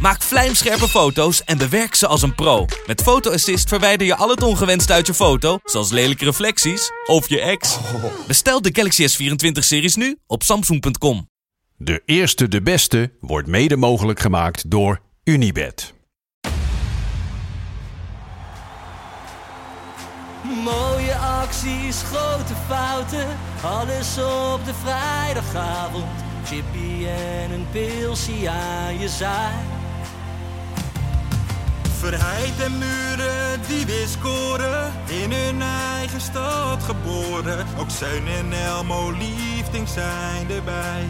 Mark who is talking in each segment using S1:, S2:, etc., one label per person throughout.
S1: Maak vlijmscherpe foto's en bewerk ze als een pro. Met Photo Assist verwijder je al het ongewenst uit je foto, zoals lelijke reflecties of je ex. Bestel de Galaxy S24-series nu op Samsung.com.
S2: De eerste de beste wordt mede mogelijk gemaakt door Unibed.
S3: Mooie acties, grote fouten, alles op de vrijdagavond. Chippy en een pilsie aan je zaai.
S4: Verheid en muren die weer scoren, in hun eigen stad geboren. Ook Zijn en Elmo liefding zijn erbij.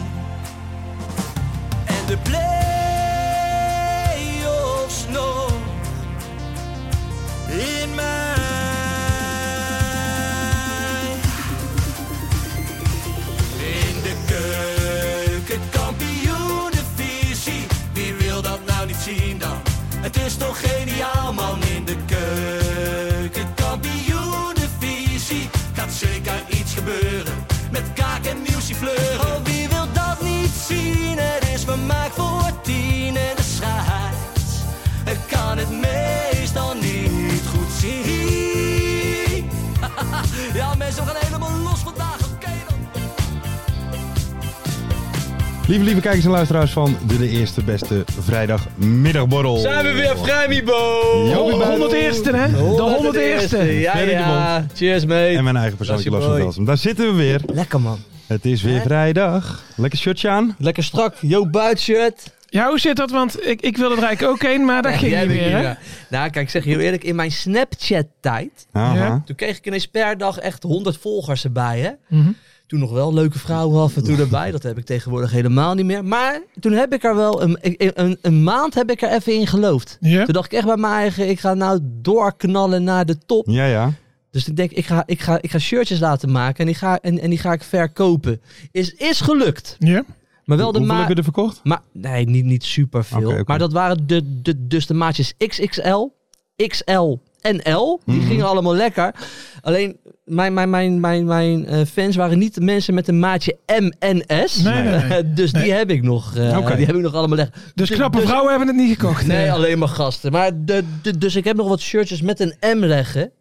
S3: En de play-offs nog.
S4: In mij.
S3: In de keuken, kampioenenvisie. Wie wil dat nou niet zien dan? Het is toch geniaal man in de keuken, kampioenenvisie. Gaat zeker iets gebeuren met kaak en nieuwsje fleuren. Oh, wie wil dat niet zien? Het is vermaakt voor tien en de scheids. Ik kan het meestal niet goed zien. Ja, mensen, we gaan helemaal los vandaag. Oké dan.
S5: Lieve, lieve kijkers en luisteraars van de, de eerste beste vrijdagmiddagborrel.
S6: Zijn we weer vrij, Mibo!
S5: Jopie Buiten.
S6: hè? De 100ste! Ja,
S5: Ferry de
S6: ja. Cheers, mate.
S5: En mijn eigen persoonlijke
S6: Dat
S5: last
S6: is je
S5: van
S6: boy.
S5: Velsen. Daar zitten we weer.
S6: Lekker, man.
S5: Het is weer vrijdag. Lekker shirtje aan.
S6: Lekker strak. Yo, buitshirt.
S7: Ja, hoe zit dat? Want ik, ik wilde er eigenlijk ook heen, maar dat ging
S6: Jij
S7: niet
S6: bent
S7: meer,
S6: hier,
S7: hè?
S6: ja. Nou, kijk, ik zeg je heel eerlijk. In mijn Snapchat-tijd,
S5: Aha.
S7: Ja.
S6: toen kreeg ik ineens per dag echt 100 volgers erbij, hè?
S7: Mhm.
S6: Toen nog wel leuke vrouwen af en toe erbij. Dat heb ik tegenwoordig helemaal niet meer. Maar toen heb ik er wel een, een, een, een maand heb ik er even in geloofd.
S7: Ja.
S6: Toen dacht ik echt bij mijn eigen, ik ga nou doorknallen naar de top.
S5: Ja, ja.
S6: Dus ik denk, ik ga, ik ga, ik ga shirtjes laten maken en die ga, en, en die ga ik verkopen. Is, is gelukt.
S7: Ja.
S6: Maar wel de
S5: Hoeveel heb
S6: maat.
S5: je er verkocht?
S6: Maar nee, niet, niet super veel.
S5: Oké, oké.
S6: Maar dat waren de, de, dus de maatjes XXL, XL en L. Die
S5: Mhm.
S6: gingen allemaal lekker. Alleen mijn, mijn, mijn, mijn, mijn eh, fans waren niet de mensen met een maatje M en S.
S7: Nee, nee, nee.
S6: dus die
S7: Nee.
S6: heb ik nog. eh,
S5: Oké.
S6: Die heb ik nog allemaal lekker.
S7: Dus knappe vrouwen hebben het niet gekocht.
S6: Nee,
S7: eh.
S6: alleen maar gasten. Maar de, de- dus ik heb nog wat shirtjes met een M leggen.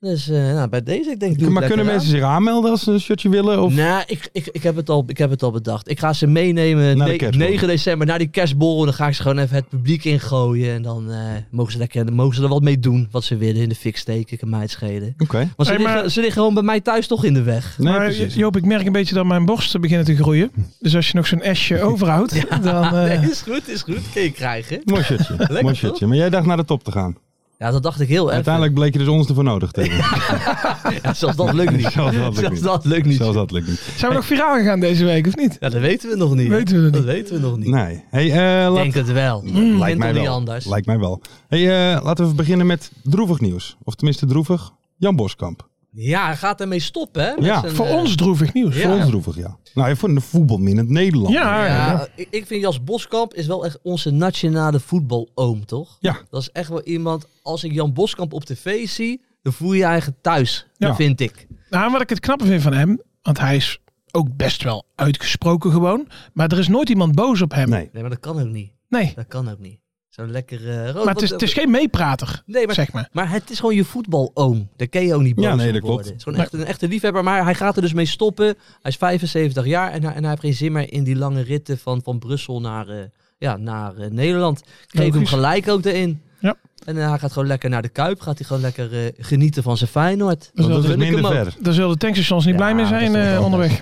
S6: Dus eh, nou, bij deze, ik denk, doe ik
S5: maar kunnen
S6: lekker
S5: mensen zich aanmelden als ze een shirtje willen? Of?
S6: aan. Nou, ik, ik, ik, heb het al, ik heb het al bedacht. Ik ga ze meenemen
S5: Naar de
S6: ne-
S5: kerstborrel.
S6: 9 december naar die kerstborrel. Dan ga ik ze gewoon even het publiek ingooien. En dan eh, mogen, ze lekker, dan mogen ze er wat mee doen. Wat ze willen in de fik steken. Ik kan mij het schelen.
S5: Oké.
S6: Want ze,
S7: Hey, maar-
S6: liggen, ze liggen gewoon bij mij thuis toch in de weg.
S5: Nee,
S7: maar eh,
S5: precies.
S7: Joop, ik merk een beetje dat mijn borsten beginnen te groeien. Dus als je nog zo'n esje overhoudt, dan... eh,
S6: Nee, is goed, is goed. Kun je krijgen.
S5: Mooi shirtje. Mooi shirtje. Maar jij dacht naar de top te gaan.
S6: Ja, dat dacht ik heel erg.
S5: Uiteindelijk bleek je dus ons ervoor nodig te hebben.
S6: Ja, zelfs dat lukt niet.
S5: Zelfs dat lukt niet.
S6: dat lukt niet.
S5: Zelfs dat lukt niet.
S7: Zijn we nog viraal gegaan deze week, of niet?
S6: Ja, dat weten we nog niet.
S7: Weten we nog
S6: dat
S7: niet.
S6: weten we nog niet.
S5: Nee. Hey, eh,
S6: Ik
S5: laat...
S6: denk het wel. Ik
S5: Lijkt
S6: vind
S5: mij
S6: toch niet
S5: wel.
S6: anders.
S5: Lijkt mij wel. Hey, eh, laten we even beginnen met droevig nieuws. Of tenminste droevig. Jan Boskamp.
S6: Ja, hij gaat ermee stoppen. Hè, met
S5: Ja,
S6: zijn,
S7: Voor
S6: eh,
S7: ons droevig nieuws.
S6: Ja.
S5: Voor ons droevig, ja. Nou, voor de voetbal in het Nederland.
S7: Ja, ja.
S6: Ja, ik, ik vind Jas Boskamp is wel echt onze nationale voetbaloom, toch?
S5: Ja.
S6: Dat is echt wel iemand, als ik Jan Boskamp op tv zie, dan voel je je eigen thuis,
S5: Ja.
S6: vind ik.
S7: Nou, wat ik het knappe vind van hem, want hij is ook best wel uitgesproken gewoon. Maar er is nooit iemand boos op hem.
S5: Nee.
S6: Nee, maar dat kan ook niet.
S7: Nee.
S6: Dat kan ook niet. Zo'n lekker... eh, rood-
S7: Maar het is,
S6: wat-
S7: het is geen meeprater,
S6: Nee, maar,
S7: zeg maar.
S6: maar het is gewoon je voetbaloom. Daar ken je ook niet boos
S5: Ja, nee,
S6: om
S5: dat klopt.
S6: worden. Het is gewoon echt een echte liefhebber, maar hij gaat er dus mee stoppen. Hij is 75 jaar en hij, en hij heeft geen zin meer in die lange ritten van, van Brussel naar, eh, ja, naar eh, Nederland. Ik Geef hem
S7: Logisch.
S6: gelijk ook erin.
S7: Ja.
S6: En eh, hij gaat gewoon lekker naar de Kuip. Gaat hij gewoon lekker eh, genieten van zijn Feyenoord.
S5: Want dat
S7: zullen-
S5: is dus
S6: gun dus ik
S5: minder
S6: hem ook.
S5: ver.
S7: Daar zullen de tankstations niet
S6: Ja,
S7: blij mee
S6: dat
S7: zijn
S6: zal wel
S7: eh, onderweg.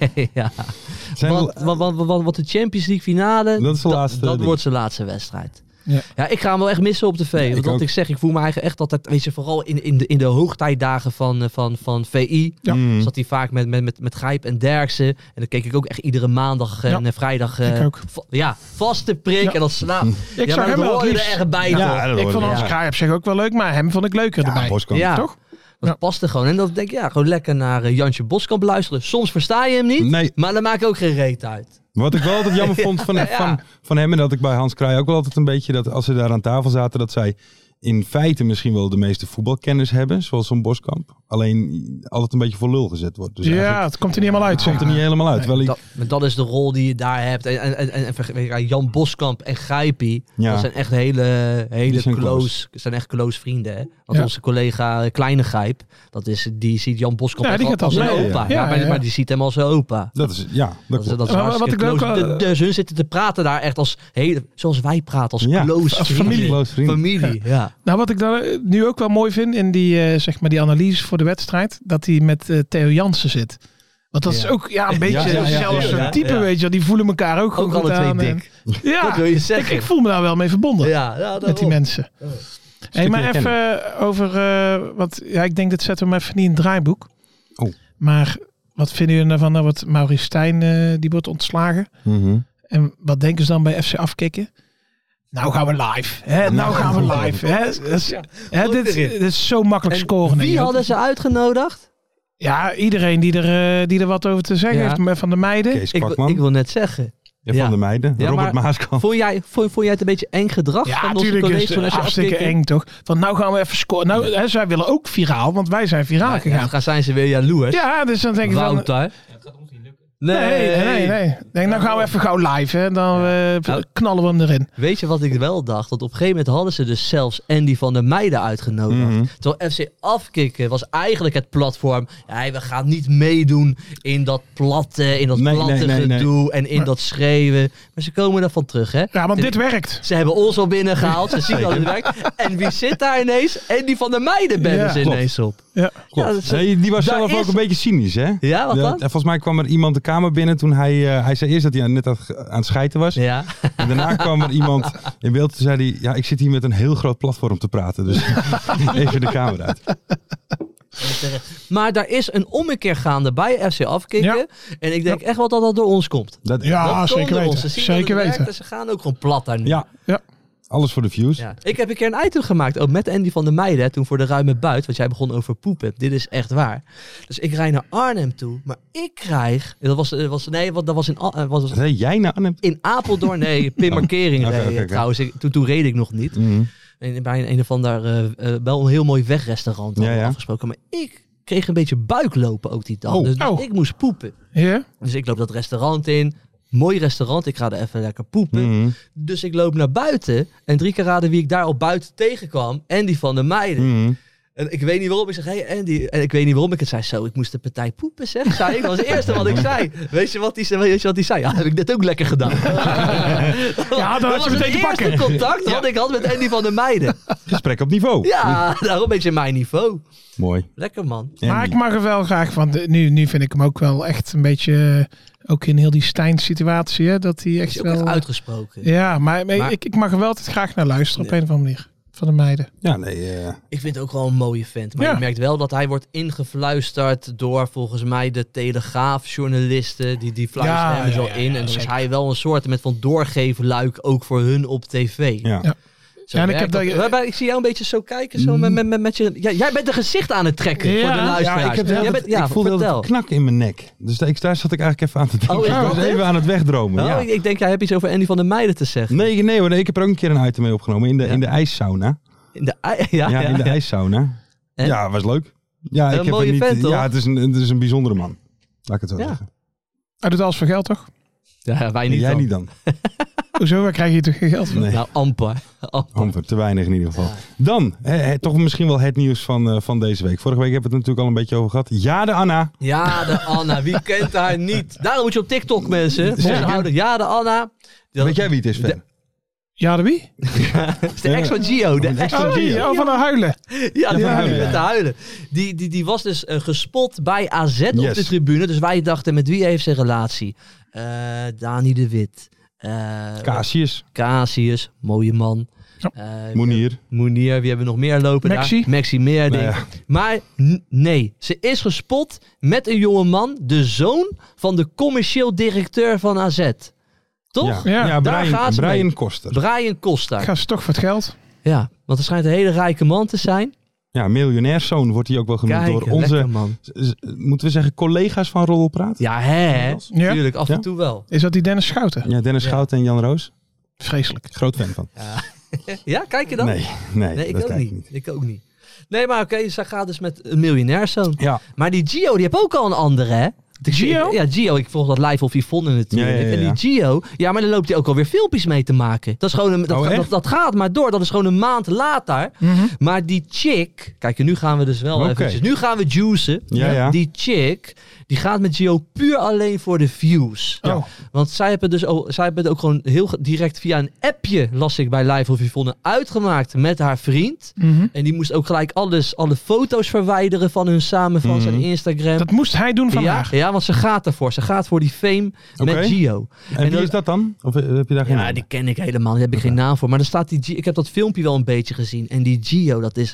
S6: ja.
S5: Zijn
S6: want,
S5: we-
S6: want, want, want- want de Champions League finale,
S5: Dat is de laatste
S6: dat
S5: ding.
S6: wordt zijn laatste wedstrijd.
S7: Ja.
S6: Ja. ik ga hem wel echt missen op tv.
S5: ik
S6: want wat
S5: ook.
S6: ik zeg, ik voel me eigenlijk echt altijd, weet je, vooral in, in, de, in de hoogtijdagen van, eh, van, van VI.
S7: Ja.
S5: Mm.
S6: Zat hij vaak met, met, met, met Gijp en Derksen. En dan keek ik ook echt iedere maandag eh,
S7: Ja.
S6: en vrijdag. eh,
S7: Ik ook.
S6: va- ja, vaste prik
S7: Ja.
S6: en dan slaap.
S7: Ik
S6: ja,
S7: zou
S6: maar
S7: hem
S6: dat
S7: wel
S6: hoor
S7: het
S6: je er
S7: liefst.
S6: echt bij,
S5: Ja,
S6: toch?
S5: dat
S7: Ik
S5: hoor
S7: vond
S5: ik.
S7: Hans
S6: Ja.
S7: Kraai op zich ook wel leuk, maar hem vond ik leuker
S5: Ja,
S7: erbij.
S5: Boskamp.
S6: Ja.
S7: Toch?
S6: Dat
S7: Ja.
S6: paste gewoon. En dat denk ik, ja, gewoon lekker naar eh, Jantje Boskamp luisteren. Soms versta je hem niet,
S5: Nee.
S6: maar dat maakt ook geen reet uit.
S5: Wat ik wel altijd jammer vond van,
S6: Ja.
S5: van, van hem en dat ik bij Hans Kraai ook wel altijd een beetje dat als ze daar aan tafel zaten, dat zij in feite misschien wel de meeste voetbalkennis hebben, zoals zo'n Boskamp. Alleen altijd een beetje voor lul gezet wordt. Dus
S7: ja,
S5: eigenlijk
S7: het komt er niet helemaal uit.
S5: komt er niet helemaal uit. Terwijl
S6: Dat, maar dat is de rol die je daar hebt. En, en, en, en vergeet- ja, Jan Boskamp en Gijpie,
S5: Ja.
S6: dat zijn echt hele, hele
S5: Die zijn
S6: close,
S5: close.
S6: zijn echt close vrienden. Hè? Want
S7: Ja.
S6: onze collega eh, Kleine Gijp, dat is, die ziet Jan Boskamp
S7: Ja,
S6: echt
S7: die
S6: al-
S7: gaat
S6: als
S7: als
S6: een
S5: mee,
S6: opa.
S7: ja.
S6: Ja,
S7: Ja,
S6: maar,
S7: ja.
S6: maar die ziet hem als een opa.
S5: dat is, ja, dat
S6: Dat is,
S5: klopt.
S6: dat is
S7: Maar wat
S6: hartstikke
S7: ik ook,
S6: close.
S7: eh,
S6: De- dus hun zitten te praten daar echt als hele, zoals wij praten, als
S5: Ja,
S6: close
S5: als
S6: vrienden.
S5: familie. Close vrienden.
S6: Familie, ja.
S7: Nou, wat ik daar eh, nu ook wel mooi vind in die, eh, zeg maar die analyse voor de wedstrijd, dat hij met eh, Theo Jansen zit. Want dat
S6: Ja.
S7: is ook ja, een beetje
S5: ja, ja,
S7: hetzelfde
S5: ja,
S7: soort
S6: ja,
S7: type,
S6: ja.
S7: weet je wel. Die voelen elkaar ook,
S6: Ook
S7: gewoon goed
S6: alle twee
S7: aan. en-
S6: dik.
S7: Ja,
S6: Dat wil je
S7: ik,
S6: zeggen.
S7: ik voel me daar wel mee verbonden
S6: ja, Oh. ja
S7: met die
S6: daarom.
S7: mensen. Hey, maar
S5: herkenning.
S7: even over, eh want ja, ik denk dat zetten we hem even niet in het draaiboek.
S5: Oh.
S7: Maar wat vinden jullie ervan dat wat Maurice Stijn, eh, die wordt ontslagen?
S5: Mhm.
S7: En wat denken ze dan bij FC afkicken? Nou gaan we live. Hè? Nou gaan we live. Hè? Dat is- hè, dit, is-
S6: erin.
S7: dit is zo makkelijk
S6: En
S7: scoren.
S6: Wie
S7: hè, joh.
S6: hadden ze uitgenodigd?
S7: Ja, iedereen die er, eh, die er wat over te zeggen
S6: Ja.
S7: heeft maar van de meiden.
S5: Kees
S6: Ik, wil-
S5: Kwakman
S6: ik wil net zeggen.
S5: en
S6: ja.
S5: Van de Meijden,
S6: Ja,
S5: Robert
S6: maar-
S5: Maaskamp.
S6: Vond jij, vond, vond jij het een beetje eng gedrag
S7: Ja,
S6: van onze
S7: natuurlijk is
S6: collega's
S7: het
S6: van SC
S7: hartstikke
S6: Afkikken?
S7: eng toch? Van nou gaan we even scoren. Nou, hè, zij willen ook viraal, want wij zijn viraal
S6: Ja,
S7: gegaan.
S6: dan gaan zijn ze weer jaloers.
S7: Ja, dus dan denk ik van...
S6: Wouter.
S7: Nee, nee, nee. Denk, nou gaan we even gauw live. Hè? Dan eh,
S6: oh. Nou.
S7: knallen we hem erin.
S6: Weet je wat ik wel dacht? Dat op een gegeven moment hadden ze dus zelfs Andy van der Meijden uitgenodigd.
S5: Mhm.
S6: Terwijl FC Afkikken was eigenlijk het platform. Ja, we gaan niet meedoen in dat platte, in dat
S5: Nee,
S6: platte
S5: nee, nee, nee.
S6: gedoe en in
S7: Maar-
S6: dat schreeuwen. Maar ze komen daarvan terug, hè?
S7: Ja, want
S6: Dit-
S7: dit werkt.
S6: Ze hebben ons al binnengehaald. Ze zien dat het werkt. En wie zit daar ineens? Andy van der Meijden bellen
S7: Ja,
S6: ze
S5: klopt.
S6: ineens op.
S7: Ja.
S5: Klopt.
S6: Ja, dat is-
S5: Nee, die was
S6: daar
S5: zelf
S6: is-
S5: ook een beetje cynisch, hè?
S6: Ja, wat
S5: Ja,
S6: dan?
S5: en volgens mij kwam er iemand de kamer binnen toen hij... eh, hij zei eerst dat hij net aan aan het schijten was.
S6: Ja.
S5: En daarna kwam er iemand in beeld en zei hij... Ja, ik zit hier met een heel groot platform te praten. Dus even de kamer uit.
S6: Maar daar is een ommekeer gaande bij FC Afkikken.
S7: Ja.
S6: En ik denk echt wel dat dat door ons komt.
S5: Dat,
S7: Ja,
S6: dat komt
S7: zeker
S6: door
S7: weten.
S6: ons. Ze zien dat
S7: Zeker
S6: het werkt
S7: weten.
S6: en ze gaan ook gewoon plat daar nu.
S5: ja.
S7: Ja.
S5: Alles voor de views.
S6: Ja. Ik heb een keer een item gemaakt, ook met Andy van der Meijden, hè, toen voor de ruime buit, want jij begon over poepen. Dit is echt waar. Dus ik rijd naar Arnhem toe, maar ik krijg, dat was, eh, was nee, want dat was in, Al- eh, was
S5: Wat zei jij nou aan hem?
S6: in Apeldoorn, nee, Pim Markering
S5: Oké,
S6: reed,
S5: oké, oké.
S6: trouwens. Ik- toen, toen reed ik nog niet.
S5: Mhm.
S6: En bij een, een of ander, eh, eh, wel een heel mooi wegrestaurant hadden
S5: Ja,
S6: we
S5: ja.
S6: afgesproken, maar ik kreeg een beetje buiklopen ook die dag.
S5: Oh.
S6: Dus, dus
S7: Oh.
S6: ik moest poepen.
S7: Ja.
S6: Dus ik loop dat restaurant in. Mooi restaurant, ik ga er even lekker poepen.
S5: Mhm.
S6: Dus ik loop naar buiten. En drie keer raden wie ik daar al buiten tegenkwam. Andy van der Meijden.
S5: Mhm.
S6: En ik weet niet waarom. Ik zeg, hé hey Andy. En ik weet niet waarom ik het zei. Zo, ik moest de partij poepen, zeg. Zei ik. Dat was het eerste wat ik zei. Weet je wat die, zei- weet je wat die zei? Ja, heb ik dit ook lekker gedaan.
S7: had je
S6: dat was
S7: meteen te
S6: het eerste
S7: pakken.
S6: contact wat ik had met Andy van der Meijden.
S5: Gesprek op niveau.
S6: Ja, daarom een beetje mijn niveau.
S5: Mooi.
S6: Lekker, man.
S5: En
S7: Maar ik mag er wel graag van. De- Nu, nu vind ik hem ook wel echt een beetje. eh, Ook in heel die Stijn-situatie. hè, Dat hij
S6: Is
S7: echt
S6: ook echt
S7: wel.
S6: uitgesproken.
S7: Ja, maar, maar
S6: Maar-
S7: Ik, ik mag er wel altijd graag naar luisteren. Op een of andere manier. Van de meiden.
S5: Ja, nee. eh
S6: Ik vind het ook wel een mooie vent. Maar
S7: Ja.
S6: je merkt wel dat hij wordt ingefluisterd door volgens mij de Telegraaf-journalisten. Die, die fluisteren
S7: Ja,
S6: hem zo
S7: ja, ja,
S6: in.
S7: ja,
S6: En dan is
S7: zeker.
S6: hij wel een soort met van doorgeefluik ook voor hun op tv.
S5: ja.
S7: Ja.
S6: Zo
S7: Ja, en ik
S6: werkt
S7: heb dat-
S6: Waarbij ik zie jou een beetje zo kijken. Zo met, met, met, met je, ja, jij bent een gezicht aan het trekken
S7: Ja,
S6: voor de
S7: ja,
S6: luisteraars.
S7: ik heb
S6: Jij
S7: wel-
S6: bent- ja,
S5: ik voelde altijd
S6: vertel.
S5: een knak in mijn nek. Dus daar- ik, daar zat ik eigenlijk even aan te denken.
S6: Oh, is
S5: ik was
S6: dat het?
S5: even aan het wegdromen.
S6: Oh,
S5: ja.
S6: ik, ik denk, jij hebt iets over Andy van der Meijden te zeggen.
S5: Nee, nee hoor. Nee, ik heb er ook een keer een item mee opgenomen. In de,
S6: Ja.
S5: in de ijssauna.
S6: In de, ja, ja,
S5: Ja, in de ijssauna.
S6: En?
S5: Ja, was leuk. Ja, ik
S6: Een
S5: heb er
S6: mooie
S5: niet,
S6: vent, toch?
S5: Ja, het is, een, het is een bijzondere man. Laat ik het zo
S6: Ja.
S5: zeggen.
S7: Hij doet alles voor geld toch?
S6: Ja, wij niet
S5: Jij
S6: dan.
S5: niet dan?
S7: Hoezo? Waar krijg je toch geen geld van?
S5: Nee.
S6: Nou, amper. amper.
S5: Amper, te weinig in ieder geval. Dan, hè, hè, toch misschien wel het nieuws van, eh, van deze week. Vorige week hebben we het natuurlijk al een beetje over gehad. Ja, de Anna.
S6: Ja, de Anna. Wie kent haar niet? Daarom moet je op TikTok, mensen. Volhouden. Ja, de Anna. Dat
S5: Weet jij wie het is, Sven?
S7: Ja, de wie?
S6: is de ex van Gio. De ex van
S7: Oh,
S6: Gio.
S7: die, oh, van de huilen.
S6: Ja, die
S5: van
S6: ja,
S5: Huilen,
S6: met
S5: ja.
S6: de huilen. Die, die, die was dus eh, gespot bij AZ op
S5: Yes.
S6: de tribune. Dus wij dachten, met wie heeft ze een relatie? Eh, Dani de Wit. eh,
S5: Casius,
S6: Casius, mooie man.
S7: Ja.
S6: Eh,
S5: Monier.
S6: Moenier, wie hebben we nog meer lopen
S7: Maxi.
S6: daar? Maxi Meerding.
S5: Nou ja.
S6: Maar n- nee, ze is gespot met een jongeman, de zoon van de commercieel directeur van AZ. Toch?
S5: Ja, ja.
S7: Ja,
S6: daar
S5: Brian,
S6: gaat ze mee.
S5: Brian Koster.
S6: Brian Koster.
S7: Gaan ze toch voor het geld?
S6: Ja, want het schijnt een hele rijke man te zijn.
S5: Ja, miljonairszoon wordt hij ook wel genoemd
S6: Kijk,
S5: door
S6: lekker,
S5: onze,
S6: man.
S5: z- z- moeten we zeggen, collega's van Rollenpraat.
S6: Ja, hè?
S7: Ja.
S6: Tuurlijk, af
S5: Ja.
S6: en toe wel.
S7: Is dat die Dennis Schouten?
S5: Ja, Dennis
S6: Ja.
S5: Schouten en Jan Roos.
S7: Vreselijk.
S5: Groot fan van.
S6: Ja, kijk je dan?
S5: Nee, nee,
S6: Nee, ik
S5: dat
S6: ook
S5: kijk
S6: niet. Ik ook niet. Nee, maar oké, zij gaat dus met een miljonairszoon.
S5: Ja.
S6: Maar die Gio, die heeft ook al een andere, hè? De
S7: Gio?
S6: Ja, Gio. Ik volg dat live of Yvonne natuurlijk.
S5: Ja, ja, ja, ja.
S6: En die Gio, ja, maar dan loopt hij ook alweer filmpjes mee te maken. Dat, is gewoon een, dat,
S5: Oh,
S6: ga-
S5: echt?
S6: dat, dat gaat maar door. Dat is gewoon een maand later.
S5: Mhm,
S6: Maar die chick... Kijk, nu gaan we dus wel
S5: Oké.
S6: eventjes... Nu gaan we juicen.
S5: Ja, ja.
S6: Die chick, die gaat met Gio puur alleen voor de views.
S7: Oh.
S6: Want zij hebben, dus ook, zij hebben het ook gewoon heel ge- direct via een appje, las ik bij Live of Yvonne, uitgemaakt met haar vriend.
S7: Mhm.
S6: En die moest ook gelijk alles, alle foto's verwijderen van hun samen, van
S5: Mhm.
S6: zijn Instagram.
S7: Dat moest hij doen van
S6: ja,
S7: haar.
S6: ja, want ze gaat ervoor. Ze gaat voor die fame
S5: Oké.
S6: met Gio.
S5: En, wie
S6: dan-
S5: is dat dan? Of eh, heb je daar geen
S6: Ja,
S5: naam?
S6: die ken ik helemaal. Daar heb ik geen naam voor. Maar dan staat die Gio, ik heb dat filmpje wel een beetje gezien. En die Gio, dat is...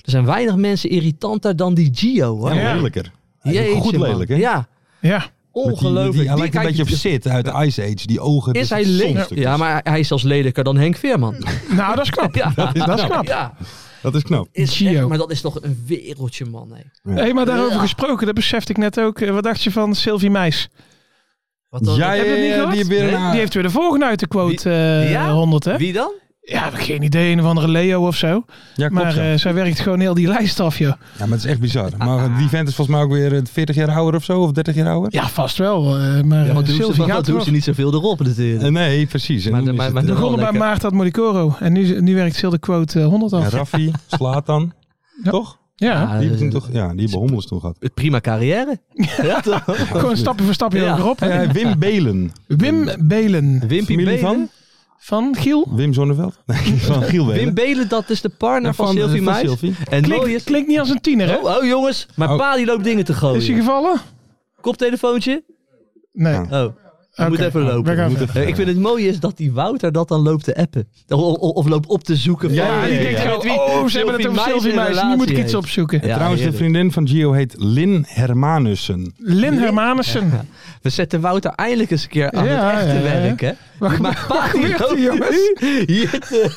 S6: Er zijn weinig mensen irritanter dan die Gio, hoor.
S5: Ja,
S7: Ja.
S5: lelijker.
S6: Jeetje,
S5: Goed
S6: man.
S5: lelijk, hè?
S6: Ja,
S7: Ja.
S5: Met die-
S6: ongelooflijk.
S5: Die, hij lijkt een
S6: kijk
S5: beetje op
S6: je-
S5: Sid uit de Ice Age. Die ogen.
S6: Is
S5: dus
S6: hij
S5: het
S6: lelijk?
S5: zonstukjes.
S6: Ja, maar hij is zelfs lelijker dan Henk Veerman.
S7: Nou, dat is knap.
S6: Ja.
S7: Dat is knap.
S6: Ja,
S5: Dat is knap.
S6: is
S7: Gio.
S6: echt- maar dat is toch een wereldje, man. Hè.
S7: Hé, maar daarover gesproken, dat besefte ik net ook. Eh, Wat dacht je van Sylvie Meis?
S6: Wat dan?
S5: Ja,
S7: Heb je dat niet
S5: ja,
S7: gehoord?
S5: Eh, die, weer
S6: Nee,
S5: een-
S7: Die heeft weer de volgende uit de quote eh,
S6: Ja?
S7: 100, hè?
S6: Wie dan?
S7: Ja, geen idee. Een of andere Leo of zo.
S5: ja, klopt,
S7: Maar
S5: ja.
S7: eh, zij werkt gewoon heel die lijst af, joh.
S5: Ja, maar het is echt bizar. Maar die vent is volgens mij ook weer eh, 40 jaar ouder of zo, of 30 jaar ouder.
S7: Ja, vast wel. eh, maar
S6: Ja,
S7: ja,
S6: want doen ze,
S7: Sylvie
S6: want
S7: gaat
S6: dat doen
S7: wel.
S6: ze niet zoveel erop natuurlijk.
S5: Eh, Nee, precies. En
S6: Maar-
S5: nu is
S6: maar-
S5: het,
S6: maar-
S5: eh,
S6: Wel
S7: Begonnen bij
S6: lekker.
S7: Maarten Modicoro. En nu, nu werkt Sylvie de quote eh, 100
S5: ja,
S7: af. Ja.
S5: Raffi, Slatan, toch?
S6: Ja,
S5: Die hebben toen
S6: eh,
S5: toch, ja, die hebben Hommels toen gehad.
S6: Prima carrière. ja, toch?
S7: Gewoon stapje voor stapje
S6: Oh, Ja.
S7: hoger op.
S5: Eh, Wim Belen.
S7: Wim Belen
S6: Wimpy
S5: Familie
S6: Belen.
S5: van?
S7: van Giel.
S5: Wim Zonneveld? Nee, van Giel Belen.
S6: Wim Belen, dat is de partner
S5: Ja,
S6: van,
S5: van, eh,
S6: Sylvie
S5: van
S6: Meis.
S5: Sylvie.
S6: En mooi
S7: Klinkt,
S6: is...
S7: klinkt niet als een tiener, hè?
S6: Oh, oh, jongens, mijn
S5: Oh.
S6: pa die loopt dingen te
S7: Is hij
S6: gooien.
S7: gevallen?
S6: Koptelefoontje?
S7: Nee.
S5: Ja.
S6: Oh, hij moet
S7: Oké.
S6: even lopen.
S7: We gaan
S5: Moet
S7: verder.
S5: even-
S6: Eh, ik vind het mooie is dat die Wouter dat dan loopt te appen. O- o- Of, loopt op te zoeken.
S5: Ja,
S6: van-
S7: Ja, die
S5: ja,
S7: denkt
S5: ja.
S7: gewoon,
S6: Met wie
S7: oh, ze hebben het over
S6: Meis
S7: Sylvie
S6: in
S7: Meis. Nu
S6: relatie
S7: moet ik iets
S6: heeft.
S7: opzoeken.
S6: Ja,
S5: Trouwens, de
S6: heerlijk.
S5: vriendin van Gio heet Lin Hermanussen.
S7: Lin Hermanussen.
S6: We zetten Wouter eindelijk eens een keer aan
S7: Ja,
S6: het echte
S7: ja, ja.
S6: werk, hè?
S7: Wacht,
S6: maar pa, die
S7: gebeurt
S6: loopt
S7: hier, jongens?
S6: nu hier te-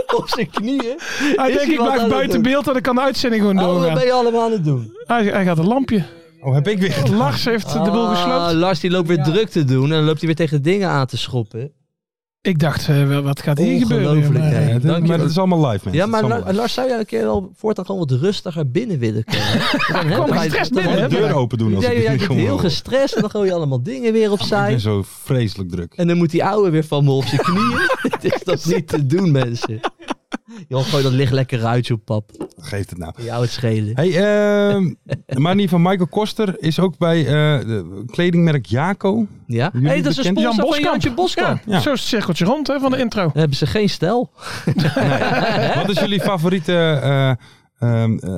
S6: op zijn knieën.
S7: Hij
S6: Is
S7: denkt,
S6: hij
S7: ik
S6: wat aan
S7: blijf
S6: het
S7: buiten
S6: doen?
S7: beeld en ik kan de uitzending gewoon
S6: Oh, wat
S7: doorgaan.
S6: ben je allemaal aan het doen?
S7: Hij, hij gaat een lampje.
S5: Oh, heb ik weer.
S7: Lars heeft de boel
S6: Ah,
S7: gesloopt.
S6: Lars die loopt weer druk te doen en dan loopt hij weer tegen dingen aan te schoppen.
S7: Ik dacht, eh, wel, wat gaat hier gebeuren?
S6: Ongelooflijk,
S7: Maar,
S6: hè.
S7: eh,
S5: Ja, dit-
S6: Dank je
S5: maar
S6: wel.
S5: dat is allemaal live, mensen.
S6: Ja, maar
S5: Dat is
S6: La-
S5: allemaal live.
S6: Lars, zou jij een keer wel voortaan gewoon wat rustiger binnen willen komen? hè? Dan hebben wij-
S7: gestrest
S6: dan
S7: binnen,
S5: Gewoon de
S6: hebben
S5: deur
S6: wij-
S5: open doen als
S6: Ja,
S5: ik dit
S6: jij
S5: niet
S6: bent
S5: gewoon
S6: heel
S5: hoor.
S6: gestrest en dan gooi je allemaal dingen weer
S5: Ik
S6: opzij.
S5: ben zo vreselijk druk.
S6: En dan moet die ouwe weer van me op zijn knieën. Het is dat niet te doen, mensen. Joh, gooi dat licht lekker uit, joh, pap.
S5: Geeft het nou.
S6: Jou het schelen.
S5: Hey, ehm, de manier van Michael Koster is ook bij eh, de kledingmerk Jaco.
S6: Ja?
S5: Jullie
S6: hey, dat is een
S5: bekend?
S6: sponsor
S7: Jan
S6: van
S7: Boskamp.
S6: Jantje Boskamp.
S5: Ja.
S7: Zo is het cirkeltje rond hè, van de intro.
S6: Dan hebben ze geen stijl.
S5: Wat is jullie favoriete, eh, ehm, eh,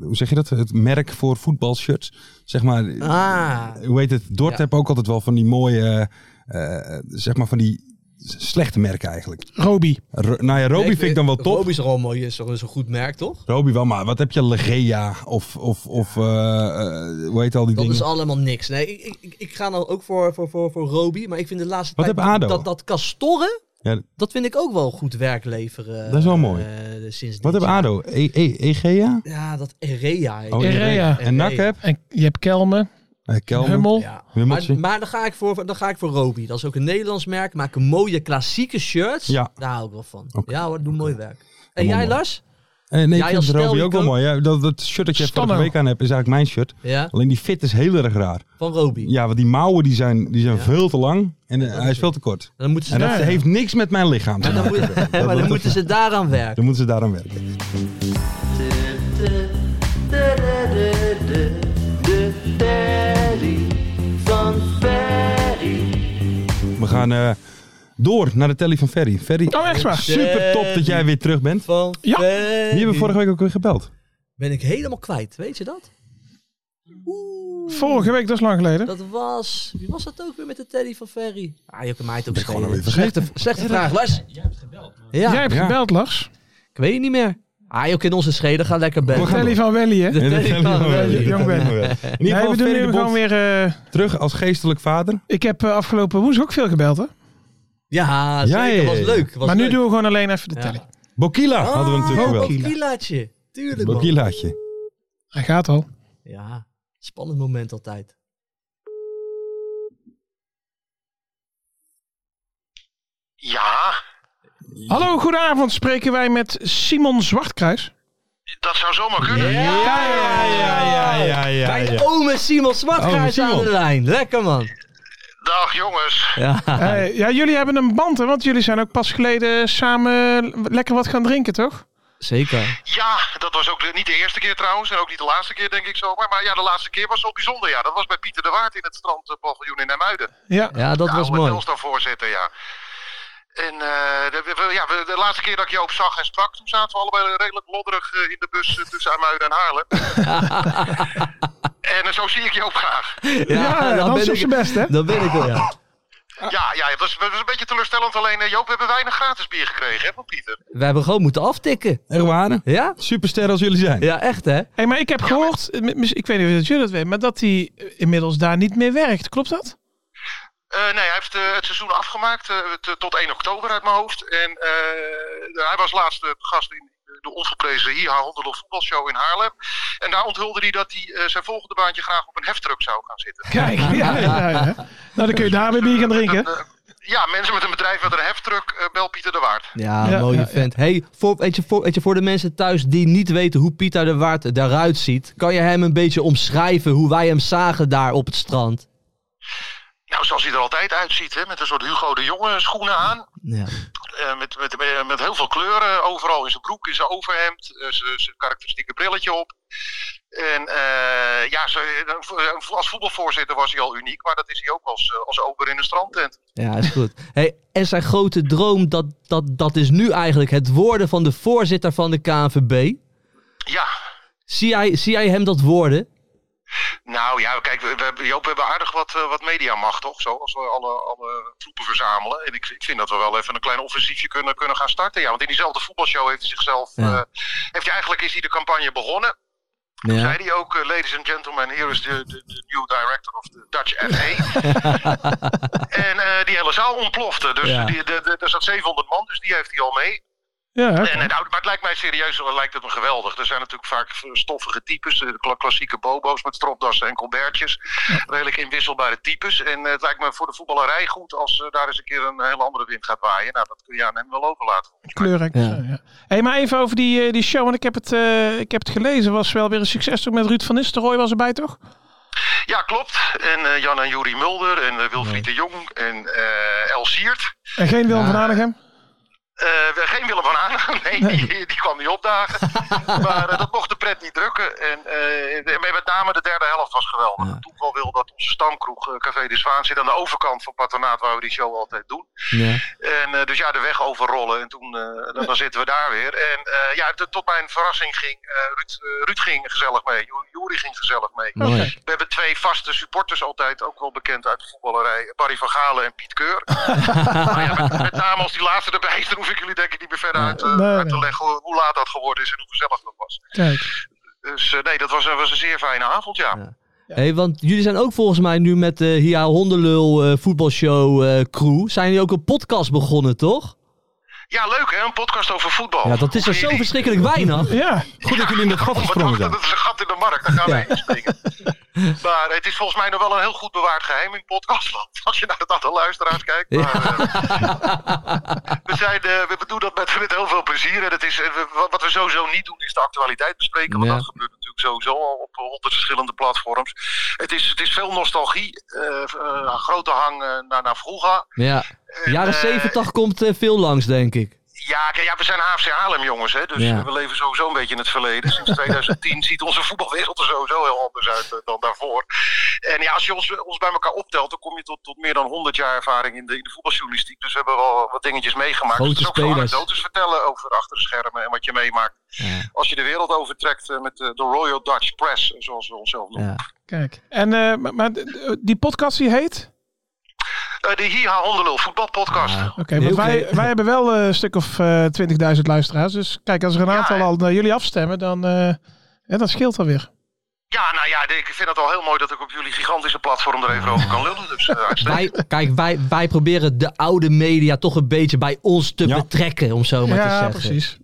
S5: hoe zeg je dat? Het merk voor voetbalshirts. Zeg maar,
S6: Ah.
S5: hoe heet het? Dort
S6: Ja.
S5: heb ook altijd wel van die mooie, eh, eh, zeg maar van die s- slechte merken eigenlijk.
S7: Roby.
S5: Ro- nou ja, Roby vind ik dan wel top. Roby.
S6: is al mooi, is een goed merk, toch?
S5: wel, maar wat heb je? Legea of, of, of eh, eh, hoe heet al die
S6: Dat
S5: dingen?
S6: is allemaal niks. Nee, ik, ik, ik ga dan ook voor, voor, voor, voor Roby. Maar ik vind de laatste
S5: Wat
S6: tijd
S5: heb ADO?
S6: dat, dat kastorren,
S5: Ja,
S6: dat vind ik ook wel goed werk leveren.
S5: Dat is wel mooi.
S6: eh, sinds dit
S5: wat heb
S6: jaar.
S5: ADO? E e Egea?
S6: Ja, dat Erea. heet
S5: Oh,
S6: het.
S7: Erea.
S5: En NAC heb?
S7: En je hebt Kelme,
S5: Eh, Kelmer.
S7: Hummel.
S6: Ja.
S5: Hummeltje.
S6: Maar, maar dan, ga ik voor, dan ga ik voor Roby. Dat is ook een Nederlands merk. Maak een mooie klassieke shirts.
S5: Ja.
S6: Daar hou ik wel van.
S5: Oké.
S6: Ja hoor, doe mooi werk. En
S5: Helemaal
S6: jij
S5: mooi.
S6: Lars?
S5: Eh, nee,
S6: Ja,
S5: ik
S6: als
S5: vind Roby
S6: stel,
S5: ook wel
S6: Nico.
S5: mooi. Ja, dat, dat shirt dat je vorige
S7: Stanno.
S5: week aan hebt is eigenlijk mijn shirt.
S6: Ja,
S5: Alleen die fit is heel erg raar.
S6: van Roby.
S5: Ja, want die mouwen die zijn, die zijn
S6: Ja.
S5: veel te lang en eh,
S6: dat
S5: hij
S6: is
S5: is veel te kort.
S6: En dan moeten ze,
S5: En dat
S6: daar-
S5: heeft niks met mijn lichaam te
S6: maar dan,
S5: maken.
S6: moet- maar dan
S5: dat-
S6: moeten ze daaraan werken.
S5: Dan moeten ze daaraan werken. We gaan eh, door naar de telly van Ferry. Ferry,
S7: Oh, echt waar?
S5: super top dat jij weer terug bent.
S6: Van
S7: Ja.
S6: Ferry.
S5: Wie hebben we vorige week ook weer gebeld?
S6: Ben ik helemaal kwijt, weet je dat?
S7: Vorige week, dat is lang geleden.
S6: Dat was... Wie was dat ook weer met de Teddy van Ferry? Ah, Jokke Maait ook
S5: gewoon alweer
S6: schelen. Slechte, slechte vraag, Lars. Jij hebt gebeld. Ja,
S7: Jij hebt
S5: Ja.
S7: gebeld, Lars.
S6: ik weet het niet meer. Ah, Jokke in onze scheden, ga lekker bellen.
S5: We gaan
S7: Telly
S5: door.
S7: van Welly, hè?
S6: De
S5: Ja,
S6: Teddy van Ferry.
S7: Jong ben.
S5: In ieder
S7: Nee,
S5: geval
S7: we doen
S5: Ferry
S7: nu
S5: de
S7: gewoon
S5: Bond
S7: weer... eh,
S5: terug als geestelijk vader.
S7: ik heb eh, afgelopen woensdag ook veel gebeld, hè?
S6: Ja, zeker.
S5: ja, ja, ja.
S6: Was leuk. Was
S7: maar nu
S6: leuk.
S7: doen we gewoon alleen even de telly. Oh,
S5: Bokila hadden we
S6: Ah,
S5: natuurlijk
S6: ook
S5: wel.
S6: Kilaatje. Tuurlijk, man.
S5: Bokilaatje.
S7: Hij gaat al.
S6: Ja, spannend moment altijd.
S8: Ja,
S7: Hallo, goedenavond. Spreken wij met Simon Zwartkruis?
S8: dat zou zomaar kunnen.
S6: Ja, ja,
S5: ja, ja,
S6: Mijn oom is Simon Zwartgaard
S5: Ome
S6: aan
S5: Simon.
S6: de lijn. Lekker, man.
S8: Dag jongens.
S6: Ja.
S7: Eh, ja, jullie hebben een band, hè? Want jullie zijn ook pas geleden samen lekker wat gaan drinken, toch?
S6: Zeker.
S8: Ja, dat was ook de- niet de eerste keer trouwens. En ook niet de laatste keer, denk ik zomaar. Maar ja, de laatste keer was wel bijzonder. Ja, dat was bij Pieter de Waard in het strandpaviljoen in Nijmuiden.
S7: Ja.
S6: Ja, Nou, dat
S8: de
S6: was
S8: oude
S6: mooi.
S8: Telstar voorzitter, ja. En eh, de, we- we- ja, we- de laatste keer dat ik Joop zag en sprak, toen zaten we allebei redelijk lodderig eh, in de bus eh, tussen Amuiden en Haarlem. en eh, zo zie ik Joop graag.
S7: Ja, Hans op zijn best, hè?
S6: Dan ben ik er, ja.
S8: Ja, ja het, was, het was een beetje teleurstellend. Alleen eh, Joop, we hebben weinig gratis bier gekregen hè, van Pieter.
S6: We hebben gewoon moeten aftikken.
S5: Echt waar?
S6: Ja?
S5: Superster als jullie zijn.
S6: Ja, echt, hè?
S7: Hey, maar ik heb gehoord, eh, mis- ik weet niet of jullie dat weten, maar dat hij eh, inmiddels daar niet meer werkt. Klopt dat?
S8: Eh, nee, hij heeft eh, het seizoen afgemaakt eh, t- tot 1 oktober uit mijn hoofd. En eh, hij was laatste gast in de ongeprezen Hiha Honderlof voetbalshow in Haarlem. En daar onthulde hij dat hij eh, zijn volgende baantje graag op een heftruck zou gaan zitten.
S7: Kijk, ja, ja, ja, ja. Nou, dan kun je daar weer bier gaan drinken.
S8: Eh, ja, mensen met een bedrijf met een heftruck, eh, bel Pieter de Waard.
S6: Ja,
S7: Ja,
S6: mooie
S7: ja, ja.
S6: vent. Hey, voor, weet je, voor, weet je, voor de mensen thuis die niet weten hoe Pieter de Waard daaruit ziet, kan je hem een beetje omschrijven hoe wij hem zagen daar op het strand?
S8: Nou, zoals hij er altijd uitziet, hè, met een soort Hugo de Jonge schoenen aan.
S6: Ja.
S8: Eh, met, met, met, met heel veel kleuren overal in zijn broek, in zijn overhemd, eh, zijn zijn karakteristieke brilletje op. En eh, ja, ze- een vo- als voetbalvoorzitter was hij al uniek, maar dat is hij ook als, eh, als ober in een strandtent.
S6: Ja, is goed. Hey, en zijn grote droom, dat, dat, dat is nu eigenlijk het worden van de voorzitter van de KNVB.
S8: Ja,
S6: Zie jij, zie jij hem dat worden?
S8: nou ja, kijk, we, we, Joop, we hebben aardig wat, eh, wat mediamacht, toch? Zo, als we alle, alle troepen verzamelen. En ik, ik vind dat we wel even een klein offensiefje kunnen, kunnen gaan starten. Ja, want in diezelfde voetbalshow heeft hij zichzelf...
S6: Ja.
S8: eh, heeft hij, eigenlijk is hij de campagne begonnen. Toen zei hij ook, eh, ladies and gentlemen, here is de de- de new director of the Dutch FA. en eh, die hele zaal ontplofte. Dus
S6: Ja.
S8: die, de, de, er zat 700 man, dus die heeft hij al mee.
S7: Ja, oké.
S8: En, eh, nou, maar het lijkt mij serieus, eh, lijkt het me geweldig. Er zijn natuurlijk vaak stoffige types, eh, kla- klassieke bobo's met stropdassen en colbertjes. Redelijk inwisselbare types. En eh, het lijkt me voor de voetballerij goed als eh, daar eens een keer een hele andere wind gaat waaien. Nou, dat kun je aan hem wel overlaten.
S7: kleurrijk.
S6: Ja.
S7: Ja. Ja. Hey, maar even over die, eh, die show, want ik heb, het, eh, ik heb het gelezen. Was wel weer een succes toch met Ruud van Nistelrooy was erbij, toch?
S8: Ja, klopt. En eh, Jan en Juri Mulder en eh, Wilfried de Jong en eh El Siert.
S7: En geen Willem van Hanegem?
S8: Eh, we- geen Willem van Aanen, nee, Die, die kwam niet opdagen. maar eh, dat mocht de pret niet drukken. En eh, de- maar met name de derde helft was geweldig.
S6: Ja.
S8: Toen wel wil dat onze stamkroeg eh, Café de Zwaan zit aan de overkant van Patronaat, waar we die show altijd doen.
S6: Ja.
S8: En eh, dus ja, de weg overrollen en toen eh, dan, dan zitten we daar weer. En eh, ja, t- tot mijn verrassing ging eh, Ruud, eh, Ruud ging gezellig mee, Jo- Jori ging gezellig mee.
S6: Mooi.
S8: We hebben twee vaste supporters altijd, ook wel bekend uit de voetballerij. Barry van Galen en Piet Keur. maar ja, met, met name als die laatste erbij is, dan hoef ik jullie denk ik niet meer verder uit, eh,
S7: Nee,
S8: uit te
S7: nee.
S8: leggen hoe, hoe laat dat geworden is en hoe gezellig dat was.
S7: Kijk.
S8: Dus eh, nee, dat was, een- was een zeer fijne avond, ja.
S6: Ja. Hey, want jullie zijn ook volgens mij nu met de Hia Hondenlul eh, voetbalshow eh, crew, zijn jullie ook een podcast begonnen, toch?
S8: Ja, leuk hè, een podcast over voetbal.
S6: Ja, dat is er
S8: Hoe
S6: zo
S8: je die-
S6: verschrikkelijk weinig.
S7: Ja.
S5: Goed dat jullie in de gat
S8: Wat
S5: gesprongen zijn.
S8: dacht, Dat is een gat in de markt, daar gaan
S6: Ja.
S8: we heen springen. Maar het is volgens mij nog wel een heel goed bewaard geheim in podcastland. Als je naar het aantal luisteraars kijkt. Maar, eh, we, zijn, eh, we doen dat met, met heel veel plezier. En het is, eh, we- wat- wat we sowieso niet doen is de actualiteit bespreken. Want
S6: Ja.
S8: dat gebeurt natuurlijk sowieso al op honderd verschillende platforms. Het is, het is veel nostalgie. eh, eh, grote hang eh, naar, naar vroeger.
S6: Ja.
S8: En,
S6: Jaren
S8: eh,
S6: 70 komt eh, veel langs, denk ik.
S8: ja, kijk, ja, we zijn AFC Haarlem jongens, hè, dus
S6: Ja.
S8: eh, we leven sowieso een beetje in het verleden. Sinds 2010 ziet onze voetbalwereld er sowieso heel anders uit eh, dan daarvoor. En ja, als je ons, ons bij elkaar optelt, dan kom je tot, tot meer dan 100 jaar ervaring in de, in de voetbaljournalistiek. Dus we hebben wel wat dingetjes meegemaakt.
S6: Grote
S8: dus het is ook veel
S6: spelers.
S8: anekdotes vertellen over achter de schermen en wat je meemaakt.
S6: Ja.
S8: Als je de wereld overtrekt eh, met de, de Royal Dutch Press, eh, zoals we onszelf noemen.
S6: Ja.
S7: Kijk. En, eh, maar, maar d- d- die podcast die heet?
S8: Eh, de Hiha Hondelul voetbalpodcast.
S6: Ah,
S7: Oké, want
S6: heel
S7: wij,
S6: klein.
S7: wij hebben wel eh, een stuk of eh 20.000 luisteraars. Dus kijk, als er een
S8: Ja,
S7: aantal
S8: hè?
S7: al naar jullie afstemmen, dan eh ja, dat scheelt alweer.
S8: Ja, nou ja, ik vind het al heel mooi dat ik op jullie gigantische platform er even over kan lullen. Dus eh, uitstekend.
S6: Wij, kijk, wij, wij proberen de oude media toch een beetje bij ons te
S5: Ja.
S6: betrekken, om zo maar
S7: ja,
S6: te zeggen.
S7: precies.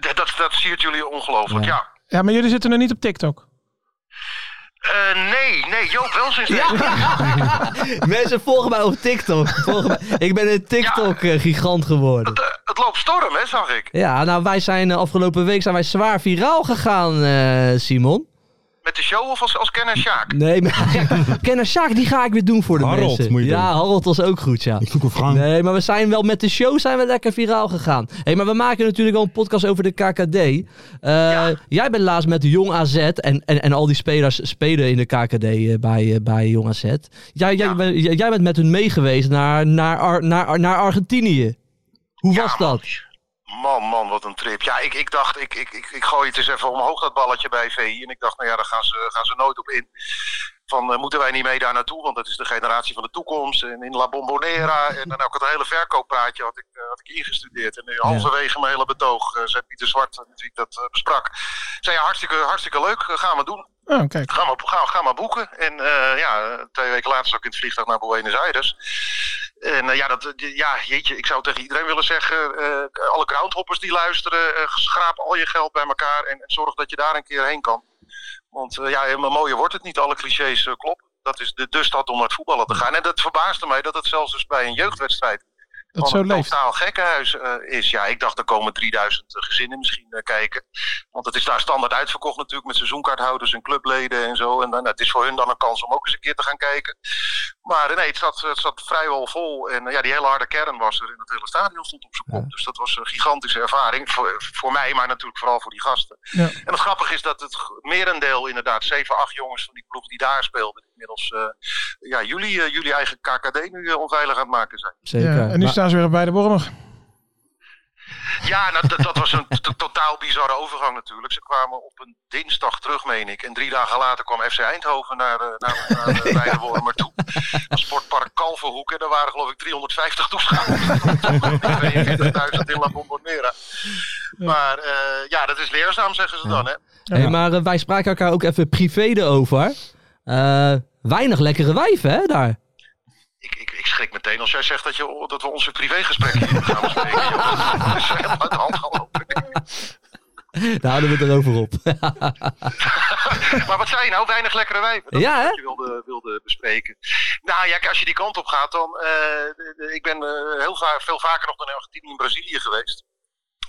S8: Dat, dat, dat siert jullie ongelooflijk, ja.
S7: Ja, maar jullie zitten er niet op TikTok.
S8: Eh, nee, nee, Joop wel sinds deze week.
S6: Mensen volgen mij op TikTok. Volgen mij. Ik ben een TikTok-gigant geworden.
S8: Het, eh, het loopt storm, hè, zag ik.
S6: Ja, nou wij zijn eh, afgelopen week zijn wij zwaar viraal gegaan, eh, Simon.
S8: Met de show of als, als Ken en Sjaak?
S6: Nee, maar Kenner Sjaak, die ga ik weer doen voor de
S5: Harold
S6: mensen.
S5: moet je
S6: ja,
S5: doen.
S6: Harold was ook goed, ja.
S5: Ik zoek een Frank.
S6: Nee, maar we zijn wel met de show zijn we lekker viraal gegaan. Hé, maar we maken natuurlijk al een podcast over de KKD. Eh, Jij bent laatst met Jong AZ en, en, en al die spelers spelen in de KKD eh, bij, eh, bij Jong AZ. Jij, jij,
S8: Ja.
S6: bent- jij- jij bent met hun meegeweest naar, naar, Ar- naar, naar Argentinië. Hoe
S8: Ja,
S6: was
S8: man.
S6: dat?
S8: Man, man, wat een trip. Ja, ik, ik dacht, ik, ik, ik, ik gooi het eens even omhoog, dat balletje bij VI. En ik dacht, nou ja, daar gaan ze, gaan ze nooit op in. Van, eh, moeten wij niet mee daar naartoe? Want dat is de generatie van de toekomst. En in La Bombonera. En dan ook het hele verkooppraatje had ik, eh, had ik ingestudeerd. En nu halverwege mijn hele betoog eh, zei Pieter Zwart, met wie ik dat eh, besprak. Zei, ja, hartstikke, hartstikke leuk, eh, gaan we doen.
S7: Oh, kijk.
S8: Ga maar, ga, ga maar boeken. En eh, ja, twee weken later zat ik in het vliegtuig naar Buenos Aires. En eh, ja, dat, ja, jeetje, ik zou tegen iedereen willen zeggen... eh, alle groundhoppers die luisteren, eh, schraap al je geld bij elkaar... en, en zorg dat je daar een keer heen kan. Want eh, ja, helemaal mooier wordt het niet. Alle clichés eh, kloppen. Dat is de, de stad om naar het voetballen te gaan. En dat verbaasde mij dat het zelfs dus bij een jeugdwedstrijd...
S7: Dat
S8: gewoon
S7: zo
S8: een
S7: leeft.
S8: totaal gekkenhuis eh, is. Ja, ik dacht, er komen 3000 gezinnen misschien eh, kijken. Want het is daar standaard uitverkocht natuurlijk met seizoenkaarthouders en clubleden en zo. En dan, nou, het is voor hun dan een kans om ook eens een keer te gaan kijken. Maar eh, nee, het zat, het zat vrijwel vol. En eh, ja, die hele harde kern was er en het hele stadion stond op zijn kop. Dus dat was een gigantische ervaring voor, voor mij, maar natuurlijk vooral voor die gasten.
S7: Ja.
S8: En het grappige is dat het g- merendeel inderdaad, 7, 8 jongens van die ploeg die daar speelden, inmiddels eh, ja, jullie, eh, jullie eigen KKD nu eh, onveilig aan het maken zijn.
S6: Zeker.
S7: Ja, en nu
S6: Maar-
S7: staan ze weer bij de Wormer.
S8: Ja, nou, dat, dat was een t- totaal bizarre overgang natuurlijk. Ze kwamen op een dinsdag terug, meen ik. En drie dagen later kwam FC Eindhoven naar, eh, naar, naar eh, Weidewormer toe. Sportpark Kalverhoek. En daar waren geloof ik 350 toeschouwers. 42.000 in La Bombonera. Maar eh, ja, dat is leerzaam, zeggen ze dan. Hè?
S6: Hey, maar eh, wij spraken elkaar ook even privé erover. Eh, weinig lekkere wijven, hè, daar.
S8: Ik, ik, ik schrik meteen als jij zegt dat, je, oh, dat we onze privégesprekken hier gaan bespreken. joh. Dat is helemaal uit de hand gelopen.
S6: Daar houden we het erover op.
S8: Maar wat zei je nou? Weinig lekkere wijven. Dat
S6: Ja,
S8: is
S6: hè?
S8: wat je wilde, wilde bespreken. Nou ja, als je die kant op gaat, dan... eh, de- de- ik ben eh, heel va- veel vaker nog dan in Argentinië en Brazilië geweest.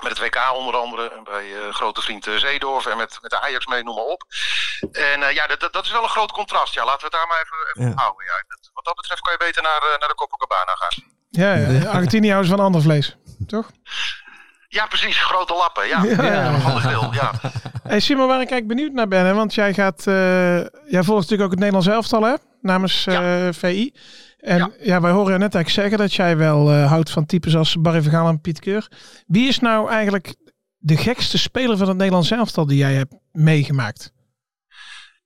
S8: Met het WK onder andere. En bij eh, grote vriend eh, Zeedorf. En met, met de Ajax mee, noem maar op. En eh, ja, dat, dat- dat is wel een groot contrast. Ja, laten we het daar maar even, even
S6: Ja.
S8: op houden. Ja. Dat- wat dat betreft kan je beter naar, eh, naar de Copacabana gaan.
S7: Ja, ja. Argentinië houden ze van ander vlees. Toch?
S8: Ja, precies. Grote lappen. Ja,
S7: Ja.
S8: Ja, van de grill. Ja.
S7: Hey Simon, waar ik eigenlijk benieuwd naar ben, hè, want jij gaat, eh, jij volgt natuurlijk ook het Nederlands elftal, hè, namens eh, VI. En ja.
S8: Ja.
S7: wij horen je net eigenlijk zeggen dat jij wel eh, houdt van types als Barry Vergaal en Piet Keur. Wie is nou eigenlijk de gekste speler van het Nederlands elftal die jij hebt meegemaakt?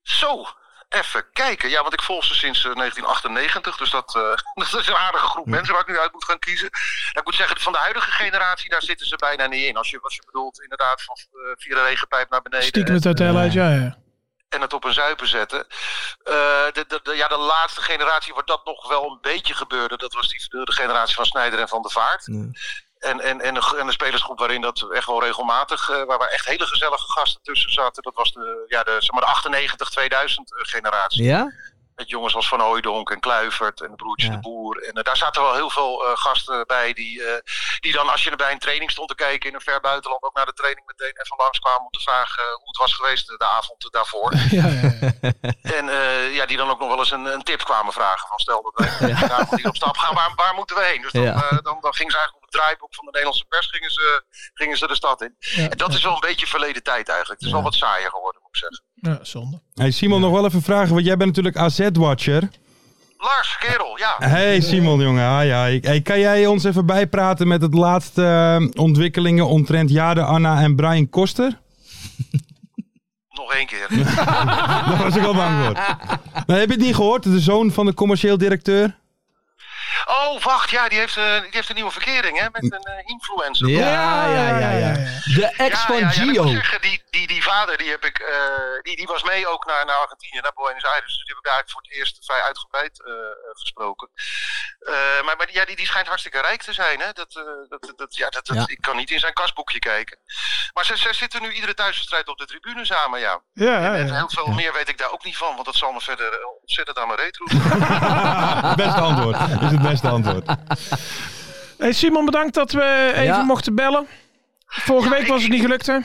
S8: Zo, even kijken. Ja, want ik volg ze sinds eh, 1998. Dus dat, eh, dat is een aardige groep mensen waar ik nu uit moet gaan kiezen. En ik moet zeggen, van de huidige generatie, daar zitten ze bijna niet in. Als je, als je bedoelt, inderdaad, van eh, via de regenpijp naar beneden.
S7: Stiekem het hotel uit, ja, ja.
S8: en het op een zuipen zetten. Eh, de, de, de- ja, de laatste generatie waar dat nog wel een beetje gebeurde, dat was die, de generatie van Snijder en Van der Vaart. En, en, en, een, en een spelersgroep waarin dat echt wel regelmatig, eh, waar, waar echt hele gezellige gasten tussen zaten. Dat was de, ja, de, zeg maar de 98-2000 generatie.
S6: Ja?
S8: Met jongens als Van Hooijdonk en Kluivert en Broertje
S6: Ja.
S8: de Boer. En eh, daar zaten wel heel veel eh, gasten bij die, eh, die dan als je er bij een training stond te kijken in een ver buitenland ook naar de training meteen even langskwamen om te vragen eh, hoe het was geweest eh, de avond daarvoor.
S7: ja, ja, ja.
S8: en eh, ja, die dan ook nog wel eens een, een tip kwamen vragen van stel dat wij daar moet hier op stap gaan, waar, waar moeten we heen? Dus dan,
S6: Ja.
S8: eh, dan, dan gingen ze eigenlijk op het draaiboek van de Nederlandse pers gingen ze, gingen ze de stad in. en dat is wel een beetje verleden tijd eigenlijk. Het is wel wat saaier geworden moet ik zeggen.
S7: Ja, zonde.
S5: Hey Simon, nog wel even vragen, want jij bent natuurlijk AZ-watcher.
S8: Lars, kerel, ja.
S5: Hey Simon, jongen. Hi, hi. Hey, kan jij ons even bijpraten met het laatste eh, ontwikkelingen omtrent Jade Anna en Brian Koster?
S8: Nog één keer.
S5: Daar was ik al bang voor. Nou, heb je het niet gehoord? De zoon van de commercieel directeur?
S8: Oh, wacht, ja, die heeft, eh, die heeft een nieuwe verkering, hè, met een eh, influencer.
S6: Ja, ja, ja, ja. De ex
S8: Ja,
S6: van
S8: ja, ja, dat
S6: Gio.
S8: moet ik zeggen, die, die, die vader die heb ik, eh, die, die was mee ook naar, naar Argentinië, naar Buenos Aires. Dus die heb ik daar voor het eerst vrij uitgebreid eh, gesproken. Eh, maar maar die, ja, die, die schijnt hartstikke rijk te zijn. Hè? Dat, eh, dat, dat, ja, dat, dat,
S6: Ja.
S8: Ik kan niet in zijn kasboekje kijken. Maar ze, ze zitten nu iedere thuiswedstrijd op de tribune samen, ja.
S7: Ja, ja,
S8: En
S7: ja.
S8: heel veel meer weet ik daar ook niet van, want dat zal me verder eh, ontzettend aan mijn reet roepen.
S5: Beste antwoord. Is het beste antwoord.
S7: Hey Simon, bedankt dat we even
S6: Ja.
S7: mochten bellen. Vorige
S8: Ja,
S7: week was
S8: ik-
S7: het niet gelukt, hè?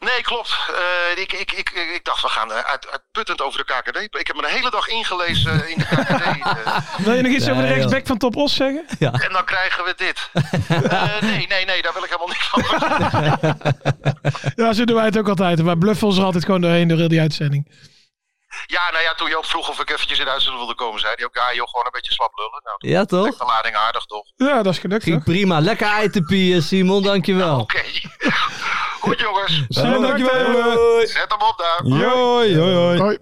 S8: Nee, klopt. Eh, ik, ik, ik, ik dacht, we gaan eh, uit, uitputtend over de KKD. Ik heb me de hele dag ingelezen in de KKD. eh,
S7: Wil je nog iets over de
S6: Nee, joh.
S7: rechtsback van Top Os zeggen?
S8: en dan krijgen we dit. Eh, nee, nee, nee, daar wil ik helemaal niks van. vertellen.
S7: Ja, zo doen wij het ook altijd. Wij bluffen ons er altijd gewoon doorheen door heel die uitzending.
S8: Ja, nou ja, toen Joop vroeg of ik eventjes in de uitzending wilde komen, zei hij ook, ja joh, gewoon een beetje slap lullen. Nou,
S6: Ja,
S8: trekt
S6: toch?
S8: de lading aardig toch?
S7: Ja, dat is gelukt,
S6: Ging
S7: toch?
S6: prima. Lekker ei te pieën, Simon. Dankjewel.
S8: Oké. Goed jongens,
S7: Oh,
S5: Simon, dankjewel.
S7: Eh,
S8: zet hem op daar.
S5: Joi, joi, joi.
S7: Hoi.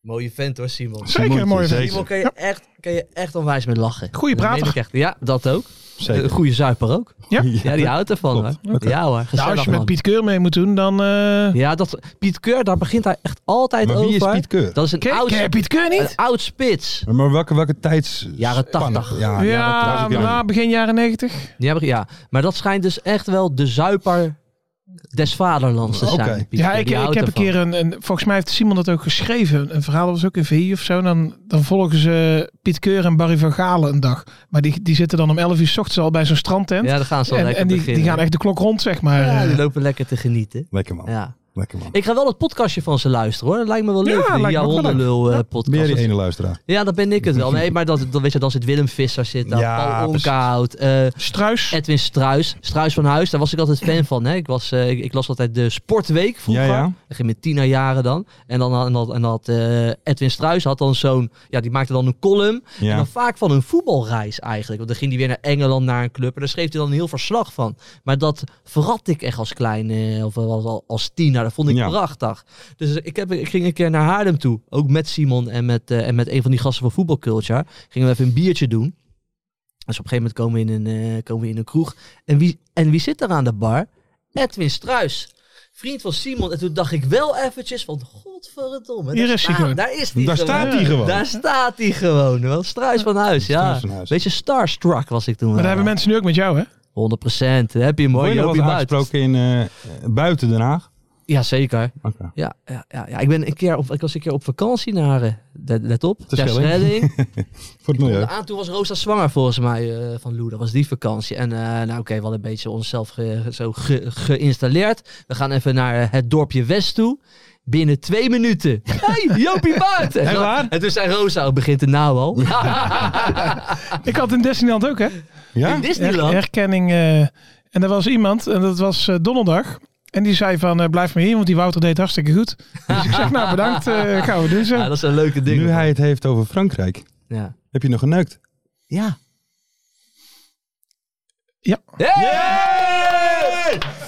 S6: Mooie vent hoor, Simon.
S7: Zeker een mooie
S5: Zeker.
S7: vent.
S6: Simon kan je, echt, kan je echt onwijs mee lachen.
S7: Goeie
S6: Dat
S7: prater.
S6: meen ik echt. Ja, dat ook.
S5: Zeker.
S6: Een goede zuiper ook.
S7: Ja?
S6: Ja, die houdt ervan
S5: klopt.
S6: hoor. Ja hoor,
S7: Nou, als
S6: gezellig
S7: je Nou, met
S6: man.
S7: Piet Keur mee moet doen, dan... eh
S6: Ja, dat, Piet Keur, daar begint hij echt altijd
S5: Maar wie is
S6: over.
S5: Piet Keur?
S6: Dat is een
S7: Ken,
S6: oud,
S7: ken je Piet Keur niet?
S6: een oud spits.
S5: Maar welke, welke tijds...
S6: Jaren tachtig.
S5: Ja,
S7: ja,
S5: dat was ik
S7: na
S5: ook.
S7: begin jaren negentig.
S6: Ja, maar, ja, maar dat schijnt dus echt wel de zuiper des vaderlands te
S5: Oké.
S6: zijn. Piet
S7: Ja,
S6: Keur.
S7: ik,
S6: Die
S7: ik
S6: houdt
S7: heb een
S6: ervan.
S7: keer een, een... Volgens mij heeft Simon dat ook geschreven. Een verhaal dat was ook in VI of zo. Dan, dan volgen ze Piet Keur en Barry van Galen een dag. Maar die, die zitten dan om 11 uur s ochtends al bij zo'n strandtent.
S6: Ja, dan gaan ze al
S7: en
S6: lekker
S7: en die,
S6: beginnen.
S7: die gaan echt de klok rond, zeg maar. Eh,
S6: Ja,
S7: Ja,
S6: die lopen lekker te genieten.
S5: Lekker man.
S6: Ja.
S5: Lekker man.
S6: Ik ga wel dat podcastje van ze luisteren hoor. Dat lijkt me wel leuk.
S7: Ja,
S6: die
S7: lijkt me
S6: jouw
S7: ook wel leuk.
S6: hondenlul eh,
S5: Ben jij die
S6: podcast.
S5: ene luisteraar?
S6: Ja, dat ben ik het wel. Nee, maar dat, dan, weet je, dan zit Willem Visser, zit daar,
S5: Ja,
S6: Paul
S5: precies.
S6: Onkoud, eh,
S7: Struis.
S6: Edwin Struis. Struis van Huis, daar was ik altijd fan van. Hè. Ik, was, eh, ik, ik las altijd de Sportweek vroeger.
S5: Ja, ja.
S6: Dat ging met tienerjaren dan. En dan had, en had, en had eh, Edwin Struis had dan zo'n... Ja, die maakte dan een column. En
S5: Ja.
S6: dan vaak van een voetbalreis eigenlijk. Want dan ging hij weer naar Engeland, naar een club. En daar schreef hij dan een heel verslag van. Maar dat verrat ik echt als klein, eh, of als, als tiener. Dat vond ik
S5: Ja.
S6: prachtig. Dus ik, heb, ik ging een keer naar Haarlem toe. Ook met Simon en met, eh, en met een van die gasten van Voetbal Culture. Gingen we even een biertje doen. Dus op een gegeven moment komen we in een, eh, komen we in een kroeg. En wie, en wie zit er aan de bar? Edwin Struis. Vriend van Simon. En toen dacht ik wel eventjes van... Godverdomme.
S7: Hier
S6: daar
S7: is hij
S6: staat-
S7: gewoon.
S6: Daar is hij
S5: Daar staat hij gewoon.
S6: Daar staat hij gewoon. Wel Struis van huis, ja.
S5: Struis van huis.
S6: Beetje starstruck was ik toen.
S7: Maar dat hebben mensen nu ook met jou, hè?
S6: 100 procent. Heb je hem hoor.
S5: Word je
S6: Je
S5: nog
S6: loopt
S5: wel
S6: hier
S5: eens
S6: buiten.
S5: aangesproken in, eh, buiten Den Haag?
S6: Ja, zeker.
S5: Oké.
S6: Ja, ja, ja, ja. Ik, ben een keer op, ik was een keer op vakantie naar... eh, Let, let op. Ter
S5: Schelling.
S6: Schelling.
S5: Voor het milieu.
S6: Komt aan, toen was Rosa zwanger volgens mij eh, van Lou. Dat was die vakantie. En eh, nou oké, we hadden een beetje onszelf ge- zo ge- geïnstalleerd. We gaan even naar eh, het dorpje West toe. Binnen twee minuten. hey, Jopie buiten! En,
S5: waar?
S6: en toen zei Rosa, "Oh, begint het nou al?
S7: Ik had in Disneyland ook, hè?
S5: Ja?
S6: In Disneyland?
S7: Her- herkenning. eh, en er was iemand, en dat was eh, donderdag. En die zei van, eh, blijf maar hier, want die Wouter deed hartstikke goed. Dus ik zeg, nou bedankt, eh, gaan we doen zo.
S6: Ja, dat is een leuke ding.
S5: Nu hij het heeft over Frankrijk,
S6: Ja.
S5: heb je nog geneukt?
S6: Ja.
S7: Ja.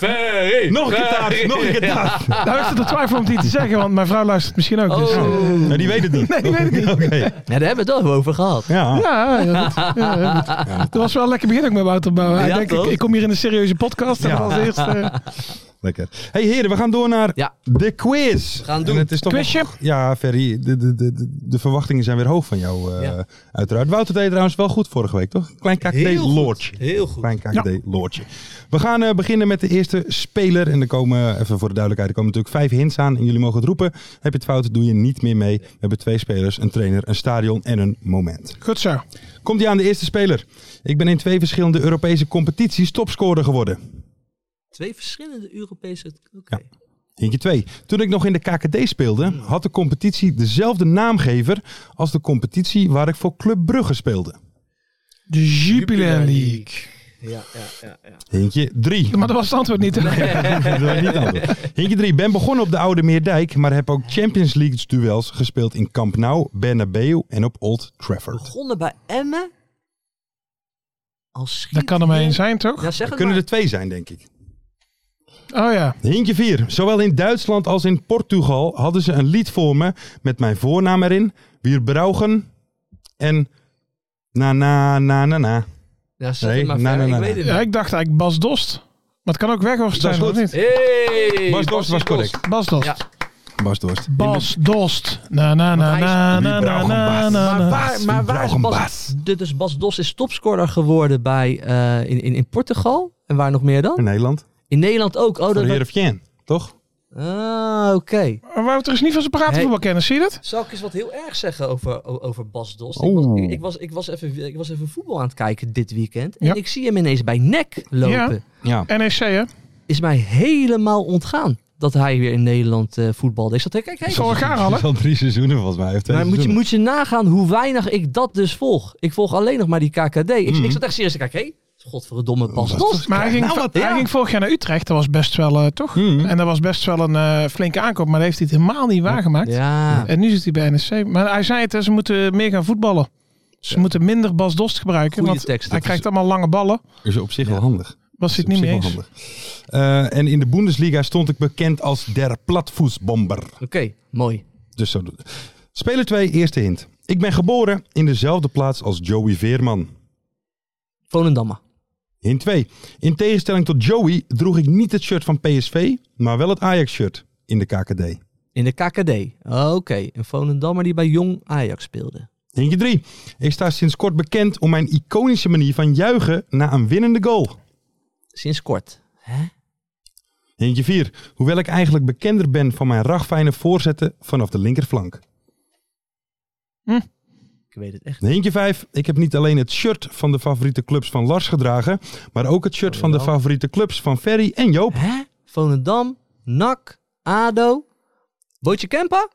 S6: Hey!
S5: Nog een gitaar, nog een gitaar.
S7: Nou, ik zit te twijfelen om het hier te zeggen, want mijn vrouw luistert misschien ook. Dus, eh,
S6: Oh.
S5: Nou, die weet het niet. Nee, die weet het niet. Oké.
S6: Ja, daar hebben we het wel over gehad.
S5: Ja.
S7: ja, heel goed. ja, heel goed. Dat was wel een lekker begin ook met Wouter Bouwen. Hij
S6: Ja,
S7: denkt, ik,
S6: toch?
S7: ik kom hier in een serieuze podcast. En
S5: Ja.
S7: als eerste eh,
S5: Lekker. hey, heren, we gaan door naar
S6: Ja.
S5: de quiz.
S6: gaan doen.
S5: En het is toch
S7: quizje.
S5: nog- ja, Ferry, de, de, de, de- de verwachtingen zijn weer hoog van jou, eh,
S6: Ja.
S5: uiteraard. Wouter deed trouwens wel goed vorige week, toch? Klein
S6: Heel goed.
S5: KKD-loortje.
S6: Heel goed.
S5: Klein KKD-loortje. We gaan eh, beginnen met de eerste speler. En er komen, even voor de duidelijkheid, er komen natuurlijk vijf hints aan. En jullie mogen het roepen. Heb je het fout, doe je niet meer mee. We hebben twee spelers, een trainer, een stadion en een moment.
S7: Goed zo.
S5: Komt hij aan de eerste speler? Ik ben in twee verschillende Europese competities topscorer geworden.
S6: Twee verschillende Europese... Oké.
S5: Ja. Hintje 2. Toen ik nog in de KKD speelde, had de competitie dezelfde naamgever als de competitie waar ik voor Club Brugge speelde.
S7: De Jupiler League.
S6: Ja, ja, ja, ja.
S5: Hintje 3.
S7: Maar dat was het antwoord niet. hè?
S5: Hintje 3. Ben begonnen op de Oude Meerdijk, maar heb ook Champions League duels gespeeld in Camp Nou, Bernabeu en op Old Trafford.
S6: Begonnen bij Emmen. Als
S7: Dat kan er maar één zijn, toch?
S6: Ja, zeg
S5: Er
S6: het
S5: kunnen
S6: maar.
S5: er twee zijn, denk ik.
S7: Oh ja.
S5: Hintje 4. Zowel in Duitsland als in Portugal hadden ze een lied voor me met mijn voornaam erin. Wir brauchen en na na na na na.
S6: Ja, zeg
S5: Nee,
S6: het
S5: nee,
S6: maar
S5: nee,
S6: verder. Ik
S5: nee,
S6: weet het
S7: ja.
S6: niet.
S7: Ik dacht eigenlijk Bas Dost. Maar het kan ook Weghorst
S5: Dat is
S7: zijn, of
S5: goed.
S7: niet?
S6: Hey!
S5: Bas Dost was correct.
S7: Bas Dost.
S6: Ja.
S5: Bas Dorst.
S7: Bas Dost. Na na na
S6: hij is-
S7: na na
S5: Wie
S7: na
S5: brauchen
S7: na
S5: Bas?
S7: na
S6: Maar
S7: na.
S6: waar, maar waar is
S5: brauchen
S6: Bas?
S5: Ah, Bas.
S6: De, dus Bas Dos is topscorer geworden bij, eh, in, in, in Portugal. En waar nog meer
S5: In
S6: dan?
S5: Nederland.
S6: In Nederland ook. Oh,
S5: Voor
S6: dat,
S5: de Heerenveen, toch?
S6: ah, oké.
S7: Wouter is niet van zijn paraatvoetbalkennis, zie je dat?
S6: Zal ik eens wat heel erg zeggen over, o- over Bas Dost? Ik,
S5: Oeh.
S6: was, ik, ik was, ik, was even, ik was even voetbal aan het kijken dit weekend. En
S7: Ja.
S6: ik zie hem ineens bij NEC lopen.
S7: Ja.
S5: Ja.
S7: NEC, E hè?
S6: Is mij helemaal ontgaan dat hij weer in Nederland eh voetbalde. Ik zat te kijken, kijk,
S7: Zal ik haar halen?
S5: Al drie seizoenen volgens mij. Of twee
S6: Maar moet je,
S5: seizoenen.
S6: moet je nagaan hoe weinig ik dat dus volg. Ik volg alleen nog maar die KKD. Ik, ik zat echt serieus te kijken. Hé, godverdomme Bas Dos.
S7: Maar hij ging,
S6: Nou,
S7: va-
S6: wat-
S7: hij
S6: ja. Hmm.
S7: ging vorig jaar naar Utrecht. Dat was best wel, eh, toch?
S5: Mhm.
S7: En dat was best wel een eh, flinke aankoop. Maar dat heeft hij het helemaal niet waargemaakt.
S6: Ja.
S7: En nu zit hij bij NEC. Maar hij zei het, hè, ze moeten meer gaan voetballen. Ze moeten minder Bas Dost gebruiken.
S6: Goeie
S7: want
S6: tekst, dat
S7: hij
S6: is-
S7: krijgt allemaal lange ballen.
S5: Is op zich wel handig.
S7: Was hij
S5: Is
S7: het niet
S5: op
S7: meer
S5: zich
S7: eens.
S5: wel handig. Eh, en in de Bundesliga stond ik bekend als der platvoetsbomber.
S6: Oké, mooi.
S5: Dus zo doet Speler 2, eerste hint. Ik ben geboren in dezelfde plaats als Joey Veerman.
S6: Volendammer.
S5: Hint 2. In tegenstelling tot Joey droeg ik niet het shirt van PSV, maar wel het Ajax-shirt in de KKD.
S6: In de KKD. Oké, een Volendammer die bij Jong Ajax speelde.
S5: Hintje 3. Ik sta sinds kort bekend om mijn iconische manier van juichen na een winnende goal.
S6: Sinds kort. Hè?
S5: Hintje 4. Hoewel ik eigenlijk bekender ben van mijn ragfijne voorzetten vanaf de linkerflank.
S6: Ik weet het echt.
S5: Hintje 5. Ik heb niet alleen het shirt van de favoriete clubs van Lars gedragen, maar ook het
S7: Oh,
S5: shirt van de favoriete clubs van Ferry en Joop.
S6: Hè? Volendam, NAC, ADO. Bootje Kempa?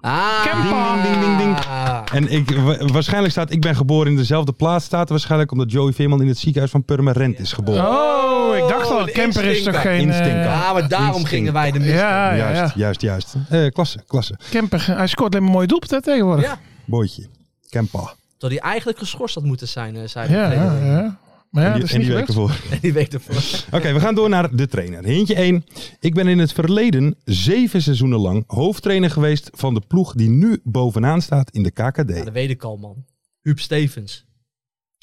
S6: Ah.
S5: Kempa! Ding, ding, ding, ding. En ik, wa- waarschijnlijk staat ik ben geboren in dezelfde plaats. Staat er waarschijnlijk omdat Joey Veerman in het ziekenhuis van Purmerend is geboren.
S7: Oh, ik dacht al,
S6: een
S7: Kemper is toch
S6: instinker.
S7: geen... eh,
S5: Instinker.
S6: Ja, maar daarom
S5: Instinct.
S6: gingen wij de mis.
S7: ja, ja,
S5: juist,
S7: ja.
S5: juist, juist, Eh, klasse, klasse.
S7: Kemper, hij scoort alleen maar mooie doelpunten hè, tegenwoordig.
S6: Ja.
S5: Bootje. Kempa.
S6: Dat hij eigenlijk geschorst had moeten zijn, eh, zei
S7: Ja,
S6: de
S7: ja,
S6: trainer.
S7: ja. Maar ja,
S5: en
S7: dat
S5: die,
S7: is
S5: en
S7: niet
S5: die
S7: gelukt.
S5: week ervoor.
S6: En die week ervoor.
S5: Oké, we gaan door naar de trainer. Hintje 1. Ik ben in het verleden zeven seizoenen lang hoofdtrainer geweest van de ploeg die nu bovenaan staat in de
S6: Ja,
S5: KKD.
S6: dat weet ik al, man. Huub Stevens.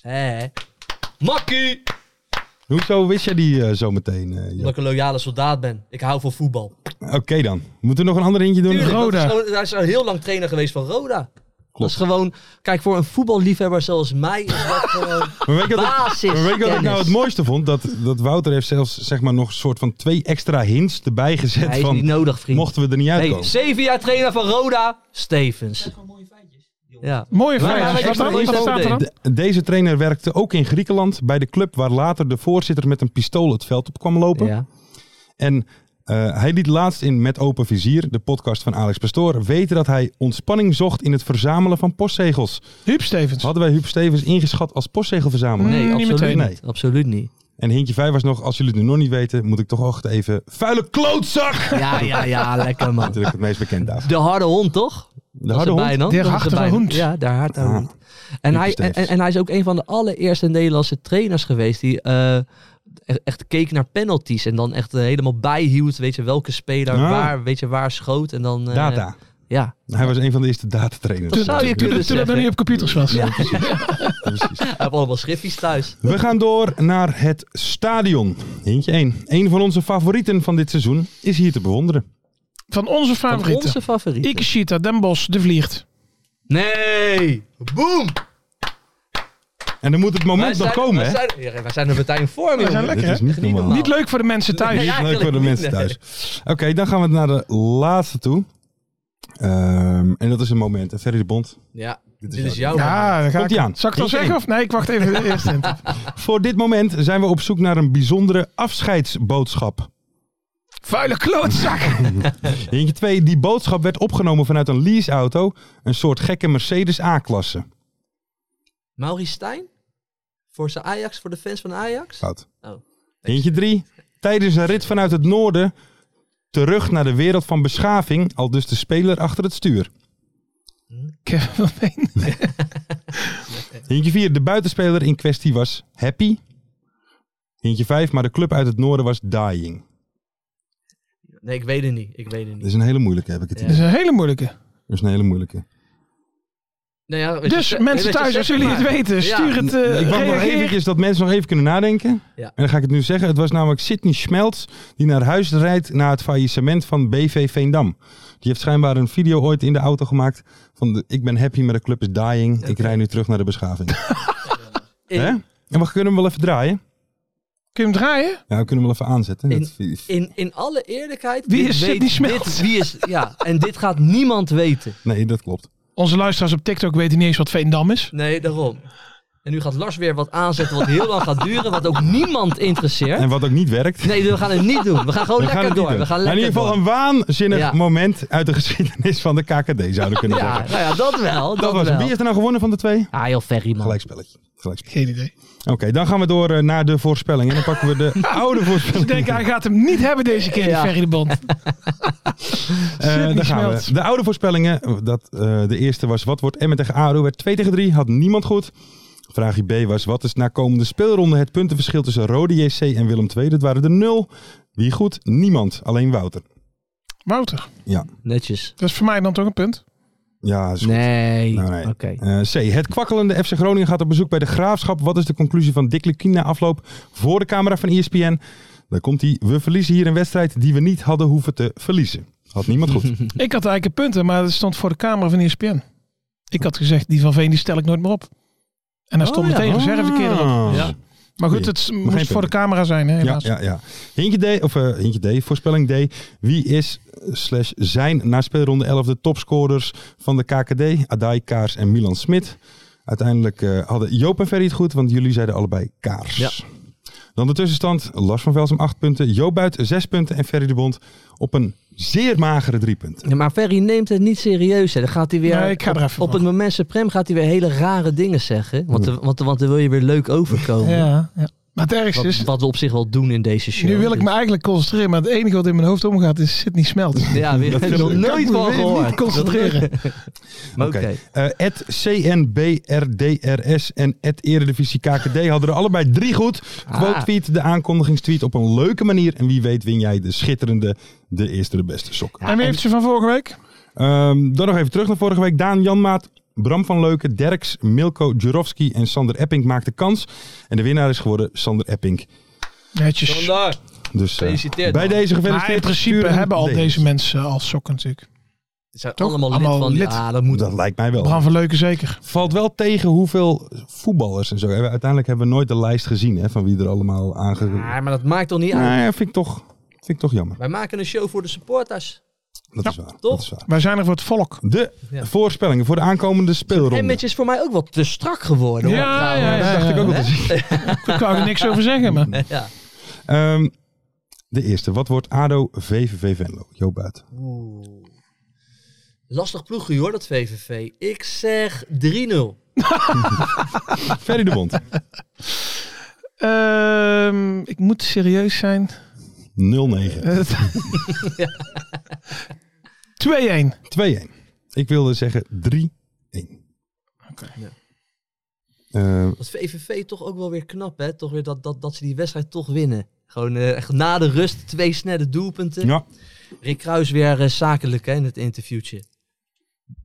S6: Hé. Makkie!
S5: Hoezo wist jij die eh, zo meteen? eh, Joop?
S6: Omdat ik een loyale soldaat ben. Ik hou van voetbal.
S5: Oké dan. Moeten we nog een ander hintje doen?
S6: Tuurlijk,
S7: Roda.
S6: dat is gewoon- Hij is al heel lang trainer geweest van Roda. Dat is gewoon... Kijk, voor een voetballiefhebber zoals mij is dat gewoon...
S5: Maar weet je wat ik-
S6: Basis.
S5: Maar weet je wat ik nou
S6: kennis.
S5: het mooiste vond? Dat, dat Wouter heeft zelfs zeg maar, nog een soort van twee extra hints erbij gezet.
S6: Hij is
S5: van,
S6: niet nodig, vriend.
S5: Mochten we er niet
S6: Hey,
S5: uitkomen.
S6: zeven jaar trainer van Roda, Stevens. Ja.
S7: Mooie
S6: Maar-
S7: vraag.
S6: maar-
S7: Wat
S6: maar-
S7: dan? Wat
S6: maar-
S7: staat er dan?
S5: De- deze trainer werkte ook in Griekenland bij de club waar later de voorzitter met een pistool het veld op kwam lopen.
S6: ja.
S5: En eh, hij liet laatst in Met Open Vizier, de podcast van Alex Pastoor, weten dat hij ontspanning zocht in het verzamelen van postzegels.
S7: Huub Stevens.
S5: Hadden wij Huub Stevens ingeschat als postzegelverzamelaar?
S6: Nee,
S7: Niet
S6: absoluut
S7: meteen.
S6: Mm, niet. Absoluut niet.
S5: En hintje 5 was nog, als jullie het nu nog niet weten, moet ik toch ook even... Vuile klootzak!
S6: Ja, ja, ja, lekker man.
S5: Natuurlijk het meest bekend daarvoor.
S6: De harde hond, toch?
S5: De harde hond?
S7: Der harde hond.
S6: Ja, de harde
S5: Ah.
S6: hond. En hij, en,
S5: Stevens.
S6: en hij is ook een van de allereerste Nederlandse trainers geweest die eh, e- echt keek naar penalties en dan echt eh, helemaal bijhield, weet je, welke speler
S5: Ah.
S6: waar, weet je, waar schoot en dan... eh,
S5: Data.
S6: Ja,
S5: Hij was een van de eerste datatrainers.
S6: Dat zou je
S5: Ja,
S6: kunnen
S7: Toen dat nog
S6: zeggen.
S7: niet op computers was.
S5: precies.
S6: Hij heeft allemaal schiffies thuis.
S5: We gaan door naar het stadion. Hintje 1. Een van onze favorieten van dit seizoen is hier te bewonderen.
S7: Van onze
S6: Van
S7: favorieten.
S6: Onze favoriet.
S7: Ikeshita, Den Bosch, De Vliert.
S6: Nee! Boom!
S5: En dan moet het moment nog komen,
S6: wij
S5: hè?
S6: zijn, ja, wij zijn er meteen voor,
S7: zijn
S6: jongen.
S7: lekker.
S5: Dit is niet
S6: Niet
S5: normaal.
S6: normaal.
S7: Niet leuk voor de mensen thuis.
S6: Nee, ja.
S5: Leuk voor de
S6: eigenlijk
S5: mensen
S6: niet,
S5: thuis.
S6: nee.
S5: Oké, dan gaan we naar de laatste toe. Ehm, en dat is een moment. En Ferry de Bond.
S6: Ja, dit
S5: is
S6: is, jouw
S5: jouw
S7: Ja, daar ga
S5: Komt-ie
S7: ik
S5: aan.
S7: Zal ik het al
S5: Eén,
S7: zeggen
S5: één.
S7: of nee? Ik wacht even de eerste hint af.
S5: Voor dit moment zijn we op zoek naar een bijzondere afscheidsboodschap.
S7: Vuile klootzak.
S5: Hintje 2. Die boodschap werd opgenomen vanuit een leaseauto. Een soort gekke Mercedes A-klasse.
S6: Maurice Stijn? Voor zijn Ajax, voor de fans van Ajax?
S5: Fout.
S6: Oh.
S5: Eentje drie. Tijdens een rit vanuit het noorden terug naar de wereld van beschaving, al dus de speler achter het stuur.
S7: Kevin van Veen.
S5: Eentje vier. De buitenspeler in kwestie was Happy. Eentje vijf. Maar de club uit het noorden was Dying.
S6: Nee, ik weet het niet. Ik weet het
S5: Dat
S6: niet.
S5: is een hele moeilijke, heb ik het
S6: Ja.
S7: Dat
S5: idee.
S7: is een hele moeilijke.
S5: Dat is een hele moeilijke.
S6: Nou ja, wat je
S7: Dus
S6: ze-
S7: mensen
S6: wat je
S7: thuis,
S6: zegt,
S7: als jullie het
S6: maar-
S7: weten,
S6: Ja.
S7: stuur het. eh
S5: ik wacht nog
S7: reageer.
S5: eventjes dat mensen nog even kunnen nadenken.
S6: Ja.
S5: En dan ga ik het nu zeggen. Het was namelijk Sidney Schmelz die naar huis rijdt na het faillissement van BV Veendam. Die heeft schijnbaar een video ooit in de auto gemaakt van de, ik ben happy, maar de club is dying. Ik rij nu terug naar de beschaving.
S6: In-
S5: Hè? En we kunnen hem wel even draaien.
S7: Kun je hem draaien?
S5: Ja, we kunnen hem wel even aanzetten.
S6: In-
S5: Dat vi-
S6: In, in alle eerlijkheid.
S7: Wie
S6: dit
S7: is
S6: weet-
S7: Sidney Smelt?
S6: dit- Wie is, ja, en dit gaat niemand weten.
S5: nee, dat klopt.
S7: Onze luisteraars op TikTok weten niet eens wat Veendam is.
S6: Nee, daarom. En nu gaat Lars weer wat aanzetten wat heel lang gaat duren, wat ook niemand interesseert.
S5: En wat ook niet werkt.
S6: Nee, we gaan het niet doen. We gaan gewoon
S5: We gaan
S6: lekker
S5: het niet
S6: door.
S5: doen.
S6: We gaan
S5: Maar
S6: lekker
S5: in ieder geval
S6: door.
S5: een waanzinnig
S6: Ja.
S5: moment uit de geschiedenis van de KKD, zouden we kunnen
S6: Ja,
S5: zeggen.
S6: nou ja, dat wel. Dat,
S5: Dat was
S6: wel.
S5: het. Wie heeft er nou gewonnen van de twee?
S6: Ah, heel ferry, man.
S5: Gelijkspelletje. Gelijkspelletje.
S7: Geen idee.
S5: Oké, dan gaan we door eh, naar de voorspelling. En dan pakken we de oude
S7: Ik
S5: voorspelling.
S7: denk, hij gaat hem niet hebben deze keer,
S6: Ja.
S7: die Ferry de Bond.
S5: Eh,
S7: Sidney
S5: daar gaan
S7: Schmelz.
S5: we. De oude voorspellingen. Dat, eh, de eerste was wat wordt Emmen tegen ADO? Werd 2 tegen 3, had niemand goed. Vraagje B was wat is na komende speelronde het puntenverschil tussen Rode JC en Willem II? Dat waren de nul. Wie goed? Niemand. Alleen Wouter.
S7: Wouter,
S6: Netjes.
S7: dat is voor mij dan toch een punt.
S5: Ja, is goed.
S6: Nee.
S5: Nou, nee.
S6: Oké.
S5: Eh, C. Het kwakkelende FC Groningen gaat op bezoek bij de Graafschap. Wat is de conclusie van Dick Lukien na afloop voor de camera van E ESPN? Daar komt hij. We verliezen hier een wedstrijd die we niet hadden hoeven te verliezen. Had niemand goed.
S7: Ik had eigenlijk een punten, maar dat stond voor de E camera van ESPN. Ik had gezegd, die van Veen die stel ik nooit meer op. En daar
S6: Oh,
S7: stond
S6: ja.
S7: meteen reserveverkeer erop.
S5: Ja.
S7: Maar goed, het moest
S5: punten.
S7: voor de camera zijn, hè,
S5: Ja,
S7: helaas.
S5: ja, ja. Hintje D, of eh Hintje D, voorspelling D. Wie is eh, slash zijn na speelronde 11 de topscorers van de KKD? Adai, Kaars en Milan Smit. Uiteindelijk eh, hadden Joop en Ferry het goed, want jullie zeiden allebei Kaars.
S6: Ja.
S5: Dan de tussenstand. Lars van Velsen 8 punten, Joop Buit 6 punten en Ferry de Bond op een zeer magere 3 punten.
S6: Ja, maar Ferry neemt het niet serieus. Hè. Dan gaat hij weer.
S7: Nee, ik ga er
S6: op,
S7: even van.
S6: op het moment suprem gaat hij weer hele rare dingen zeggen. Want, dan- want, want dan wil je weer leuk overkomen.
S7: Ja, ja. Maar het ergste
S6: Wat,
S7: is,
S6: wat we op zich wel doen in deze show. Dus-
S7: nu wil ik me eigenlijk concentreren, maar het enige wat in mijn hoofd omgaat is Sidney Smelt.
S6: Ja, weer, heb ik nog nooit van gehoord.
S7: Niet concentreren.
S6: Maar
S5: Oké.
S6: Oké.
S5: Eh, Het CNBRDRS en het Eredivisie KKD hadden er allebei drie goed.
S6: Ah.
S5: Quote tweet, de aankondigingstweet op een leuke manier. En wie weet win jij de schitterende, de eerste de beste sok.
S7: en wie heeft ze van vorige week?
S5: Ehm, dan nog even terug naar vorige week. Daan Janmaat, Bram van Leuken, Derks, Milko Jurovski en Sander Epping maakten kans. En de winnaar is geworden Sander Epping.
S7: Netjes.
S6: Vandaar.
S5: Dus eh,
S6: Gefeliciteerd,
S5: bij
S6: man.
S5: deze
S7: Maar in
S5: gefeliciteerd.
S7: principe
S5: Stuur een
S7: hebben al
S5: D.
S7: deze mensen al sokken natuurlijk.
S6: Het zijn
S7: Toch?
S6: allemaal lid
S7: Allemaal
S6: van die-
S7: lid.
S6: Ah, dat moet.
S5: Dat lijkt mij wel.
S7: Bram van Leuken zeker.
S5: Valt wel tegen hoeveel voetballers en zo. hebben. Uiteindelijk hebben we nooit de lijst gezien hè, van wie er allemaal aangekomen
S6: Ah, maar dat maakt toch niet uit.
S5: Nou ja, vind ik toch, vind ik toch jammer.
S6: Wij maken een show voor de supporters.
S5: Dat,
S7: Ja,
S5: is waar,
S6: toch?
S5: dat is waar.
S7: Wij zijn er voor het volk.
S5: De
S6: Ja.
S5: voorspellingen voor de aankomende speelronde.
S6: En is voor mij ook wat te strak geworden. hoor,
S7: Ja, ja,
S6: trouwens.
S7: ja.
S5: Dat dacht ik ook wel te zien.
S7: Daar kan ik niks over zeggen, maar...
S6: Ja.
S5: Ehm, de eerste. Wat wordt ADO VVV Venlo? Joop Buit.
S6: Oeh. Lastig ploegje hoor, dat VVV. Ik zeg 3-0.
S5: Ferry de Bond. 0-2.
S7: Ehm, ik moet serieus zijn.
S5: 2-1.
S7: Eh, 2-1.
S5: Ik wilde zeggen 3-1.
S7: Oké.
S6: Ja.
S5: Eh,
S6: Dat VVV toch ook wel weer knap, hè? Toch weer dat, dat, dat ze die wedstrijd toch winnen. Gewoon eh, echt na de rust twee snelle doelpunten.
S5: ja,
S6: Rick Kruis weer eh, zakelijk hè, in het interviewtje.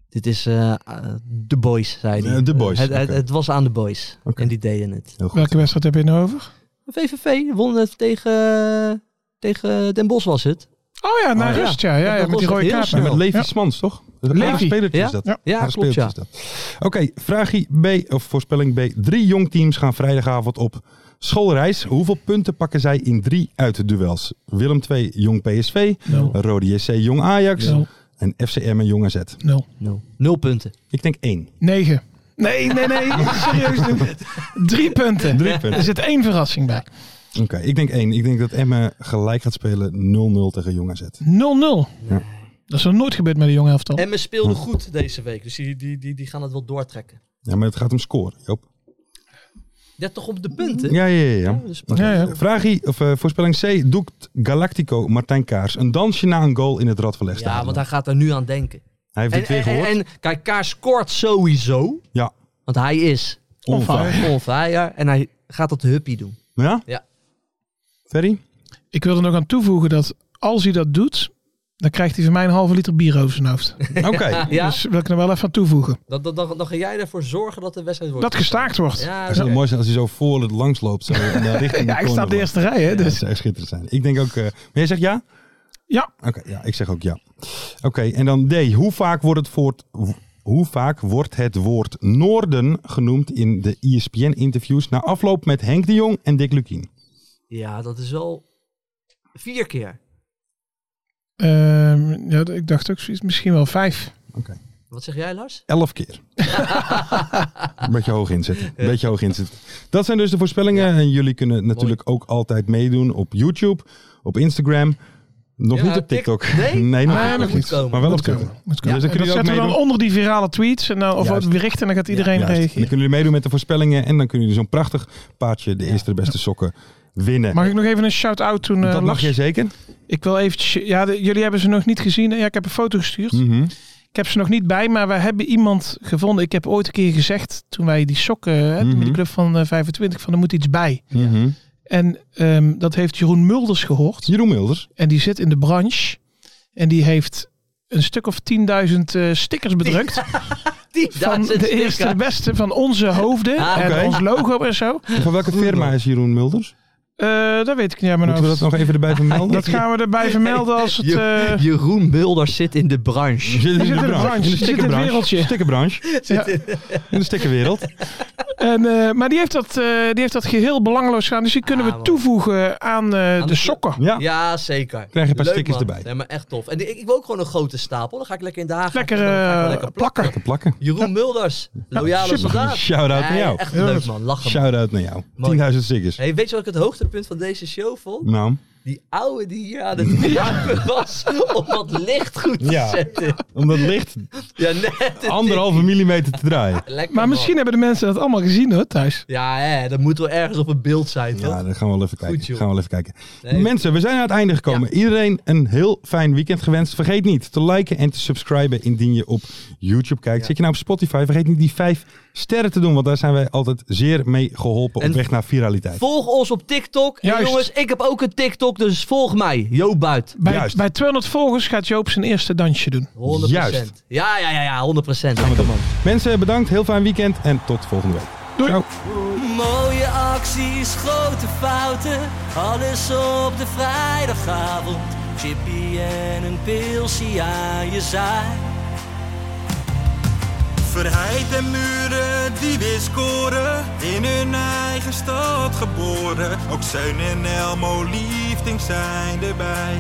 S6: Dit is eh, eh, de boys, zei hij.
S5: Eh, de boys,
S6: Het, het,
S5: oké.
S6: het was aan de boys.
S5: Oké.
S6: En die deden het.
S5: heel goed.
S7: Welke wedstrijd heb je nou over?
S6: VVV won het tegen, tegen Den Bos was het.
S7: Oh ja, naar
S5: Oh ja.
S7: rust, ja. ja, ja
S6: Dat
S7: met die
S6: was
S7: rode
S6: heel
S7: kaart.
S5: Ja, met Levi
S7: Ja.
S5: Smans, toch?
S7: Levi.
S5: Haar spelertje
S6: Ja?
S5: is dat.
S7: Ja.
S6: Ja,
S5: Haar
S6: klopt ja.
S5: speeltje is dat. Oké, vraagje B, of voorspelling B. Drie jongteams gaan vrijdagavond op schoolreis. Hoeveel punten pakken zij in drie uitduels? Willem 2, Jong PSV.
S7: Nul.
S5: Rode JC, Jong Ajax.
S7: Nul.
S5: En FCM en Jong AZ.
S7: Nul.
S6: Nul. Nul punten.
S5: Ik denk één.
S7: 9. Nee, nee, nee. Serieus. doen. Drie punten.
S5: Drie punten.
S7: Er zit één verrassing bij. 0-0.
S5: Oké, ik denk één. Ik denk dat Emmen gelijk gaat spelen 0-0 tegen Jong AZ. Ja.
S7: Dat is nog nooit gebeurd met de jonge elftal.
S6: En we speelden
S5: Oh.
S6: goed deze week. Dus die, die, die, die gaan het wel doortrekken.
S5: Ja, maar het gaat om scoren, Joop.
S6: Ja, toch op de punten?
S5: Ja, ja, ja. ja.
S6: Dus-
S7: Ja, ja.
S5: Vraagie, of eh, voorspelling C. Doekt Galactico Martijn Kaars een dansje na een goal in het Radverlegstadion?
S6: ja, want hij gaat er nu aan denken.
S5: Hij heeft
S6: En,
S5: het weer
S6: en,
S5: gehoord.
S6: en- en kijk, Kaars scoort sowieso.
S5: Ja.
S6: Want hij is
S7: On fire.
S6: on fire en hij gaat dat huppie doen.
S5: Ja?
S6: Ja.
S5: Ferry?
S7: Ik wil er nog aan toevoegen dat als hij dat doet, Dan krijgt hij van mij een halve liter bier over zijn hoofd.
S5: Oké.
S6: Ja,
S7: Dus wil ik er wel even aan toevoegen.
S6: dan, dan, dan, dan ga jij ervoor zorgen dat de wedstrijd wordt.
S7: Dat gestaakt wordt. Ja,
S6: Ja,
S5: Het is wel
S6: oké.
S5: mooi zijn als hij zo voor het langs loopt. Zo, in de richting
S7: ik sta op de eerste rij, hè.
S5: Ja, dat
S7: Dus.
S5: zou echt schitterend zijn. Ik denk ook... eh, maar jij zegt ja?
S7: Ja.
S5: Oké, ja, ik zeg ook ja. Oké, en dan D. Hoe vaak, wordt het voort, hoe vaak wordt het woord Noorden genoemd in de E ESPN-interviews na afloop met Henk de Jong en Dick Lukien?
S6: ja, dat is wel vier keer.
S7: Ehm, ja, ik dacht ook zoiets, misschien wel vijf.
S6: Wat zeg jij, Lars?
S5: Elf keer. Een beetje hoog inzetten. Een beetje hoog inzetten. Dat zijn dus de voorspellingen. En jullie kunnen natuurlijk ook altijd meedoen op YouTube, op Instagram. Nog
S6: Ja,
S5: niet op
S6: tik-
S5: TikTok.
S6: Nee?
S5: nog,
S7: Nee,
S5: niet,
S7: nog niet.
S6: komen.
S5: Maar wel op
S7: Moet
S5: Twitter.
S7: komen, moet
S5: Ja,
S7: komen. en dat
S5: dus dan kunnen jullie ook
S7: zetten we dan
S5: meedoen.
S7: onder die virale tweets en dan, of
S5: Juist.
S7: berichten en dan gaat iedereen
S5: Juist. En Dan
S7: reageren.
S5: kunnen jullie meedoen met de voorspellingen. En dan kunnen jullie zo'n prachtig paardje, de eerste de beste sokken, winnen.
S7: Mag ik nog even een shout-out doen, eh,
S5: dat mag
S7: Lars?
S5: jij zeker.
S7: Ik wil eventjes... Ja, de- jullie hebben ze nog niet gezien. Ja, ik heb een foto gestuurd.
S5: Mhm.
S7: Ik heb ze nog niet bij, maar wij hebben iemand gevonden. Ik heb ooit een keer gezegd, toen wij die sokken... Hè, toen
S5: Mhm.
S7: die club van eh, 25, van er moet iets bij.
S5: Mhm.
S7: En ehm, dat heeft Jeroen Mulders gehoord.
S5: Jeroen Milders.
S7: En die zit in de branche. En die heeft een stuk of 10.000 eh, stickers bedrukt.
S6: Die
S7: van de eerste de beste, van onze hoofden.
S6: Ah,
S7: en
S5: oké.
S7: ons logo en zo.
S5: Van welke firma is Jeroen Mulders?
S7: Eh, dat weet ik niet aan mijn
S5: Moeten we dat
S7: hoofd.
S5: nog even erbij vermelden?
S7: Dat gaan we erbij vermelden als het... eh,
S6: Jeroen Bulders zit in de branche.
S5: Zit in
S7: in
S5: de
S7: de branche.
S5: branche. In de
S7: Je zit in het
S5: stickerbranche.
S7: wereldje.
S5: Stickerbranche.
S7: ja.
S5: In de stickerwereld.
S7: En, eh, maar die heeft, dat, eh, die heeft dat geheel belangeloos gedaan. Dus die kunnen
S6: Ah,
S7: we
S6: man.
S7: toevoegen aan, eh,
S6: Aan
S7: de
S6: de-
S7: sokken.
S5: Ja.
S6: Ja, zeker.
S5: Krijg je een paar
S6: Leuk,
S5: stickers
S6: man.
S5: erbij.
S6: Nee, maar echt tof. En ik, ik wil ook gewoon een grote stapel. Dan ga ik lekker in de Haag.
S7: Lekker,
S6: Dan ga ik wel
S7: eh,
S6: lekker
S7: plakken.
S5: Te plakken.
S6: Jeroen Mulders, loyale
S7: super.
S6: soldaat.
S5: Shout-out naar
S6: Nee,
S5: jou.
S6: Echt
S5: Heel
S6: leuk
S5: erg.
S6: man, lachen. man.
S5: Shout-out naar jou.
S6: Mooi.
S5: 10.000 stickers.
S6: Hey, weet je wat ik het hoogtepunt van deze show vond?
S5: Nou,
S6: Die ouwe die hier aan het jagen was om dat licht goed te
S5: Ja.
S6: zetten.
S5: om dat licht
S6: Ja, net.
S5: anderhalve millimeter te draaien.
S6: Lekker,
S7: Maar misschien hebben de mensen dat allemaal gezien hoor, thuis.
S6: Ja, hè, dat moet wel ergens op een beeld zijn, toch?
S5: Ja, dan gaan we wel even kijken.
S6: joh.
S5: gaan we wel even kijken.
S6: Nee.
S5: Mensen, we zijn aan het einde gekomen. Iedereen een heel fijn weekend gewenst. Vergeet niet te liken en te subscriben indien je op YouTube kijkt. Zit je nou op Spotify, vergeet niet die vijf sterren te doen. Want daar zijn wij altijd zeer mee geholpen op
S6: En
S5: weg naar viraliteit.
S6: Volg ons op TikTok. En
S7: Juist.
S6: jongens, ik heb ook een TikTok, dus volg mij. Jo Buit. 100%.
S7: Bij,
S5: Juist.
S7: bij 200 volgers gaat Joop zijn eerste dansje doen.
S5: Juist.
S6: Ja, ja, ja, ja, 100%.
S5: Mensen, bedankt. Heel fijn weekend en tot volgende week.
S7: Doei.
S5: Ciao.
S3: Mooie acties, grote fouten, alles op de vrijdagavond. Chippy en een pilsie aan je zaai.
S4: Verheid en muren die weer scoren, in hun eigen stad geboren. Ook Zeun en Elmo liefdings zijn erbij.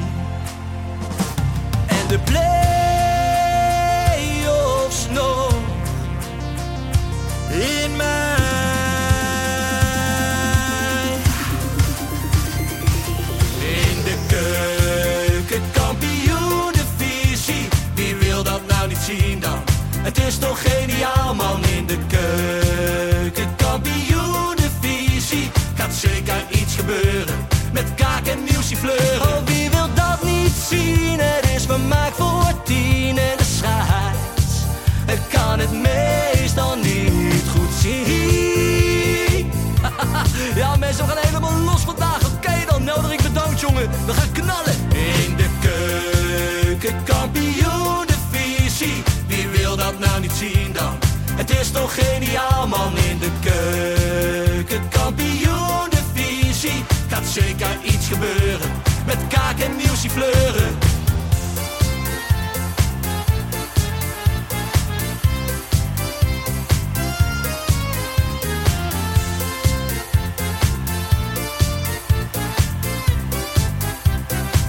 S3: En de play-offs nog
S4: In mij.
S3: in de keuken, kampioen Wie wil dat nou niet zien dan? Het is toch geniaal man in de keuken, kampioen Gaat zeker iets gebeuren met kaak en nieuwsie fleuren. Oh, wie wil dat niet zien? Het is vermaakt voor tien en de scheids. Het kan het meestal niet goed zien. Ja, mensen, we gaan helemaal los vandaag. Oké, dan nodig ik bedankt, jongen. We gaan knallen. In de keuken, kampioen, de visie. Wie wil dat nou niet zien dan? Het is toch geniaal, man. In de keuken, kampioen, de visie. Gaat zeker iets gebeuren. Met kaak en nieuwsie fleuren.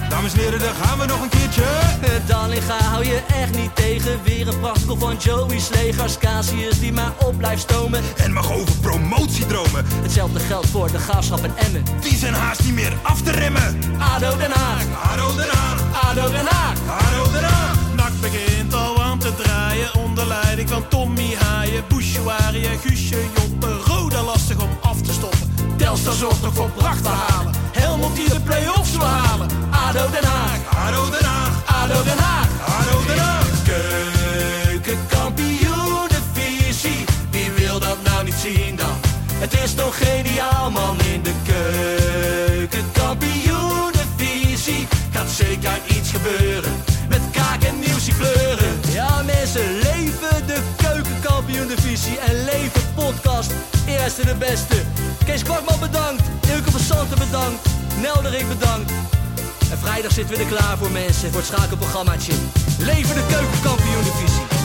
S4: Dames en heren, daar gaan we nog een keertje.
S3: Eh, Dallinga hou je echt niet tegen. Weer een prachtkel van Joey's legers. Casius die maar op blijft stomen.
S4: En mag over promotiedromen,
S3: Hetzelfde geldt voor de graafschap en Emmen.
S4: die zijn haast niet meer af te remmen.
S3: ADO Den Haag,
S4: Haro eraan,
S3: ADO Den Haag.
S4: haro eraan.
S3: Nak begint al aan te draaien onder leiding van Tommy Haaien, Bouchouari en Guusje Joppen. Roda lastig om af te stoppen. Telstar zorgt nog voor pracht te halen. Helmond die de play-offs wil halen. ADO Den Haag, ADO Den Haag, ADO Den Haag, ADO Den Haag. Keukenkampioenenvisie, wie wil dat nou niet zien dan? Het is toch geniaal man in de keukenkampioenenvisie. Gaat zeker iets gebeuren.
S1: Visie en Leven podcast. Eerste de beste. Kees Kwakman bedankt. Ilke van Santen bedankt. Nelderik bedankt. En vrijdag zitten we er klaar voor mensen. Voor het schakelprogrammaatje. Leven de keukenkampioen divisie.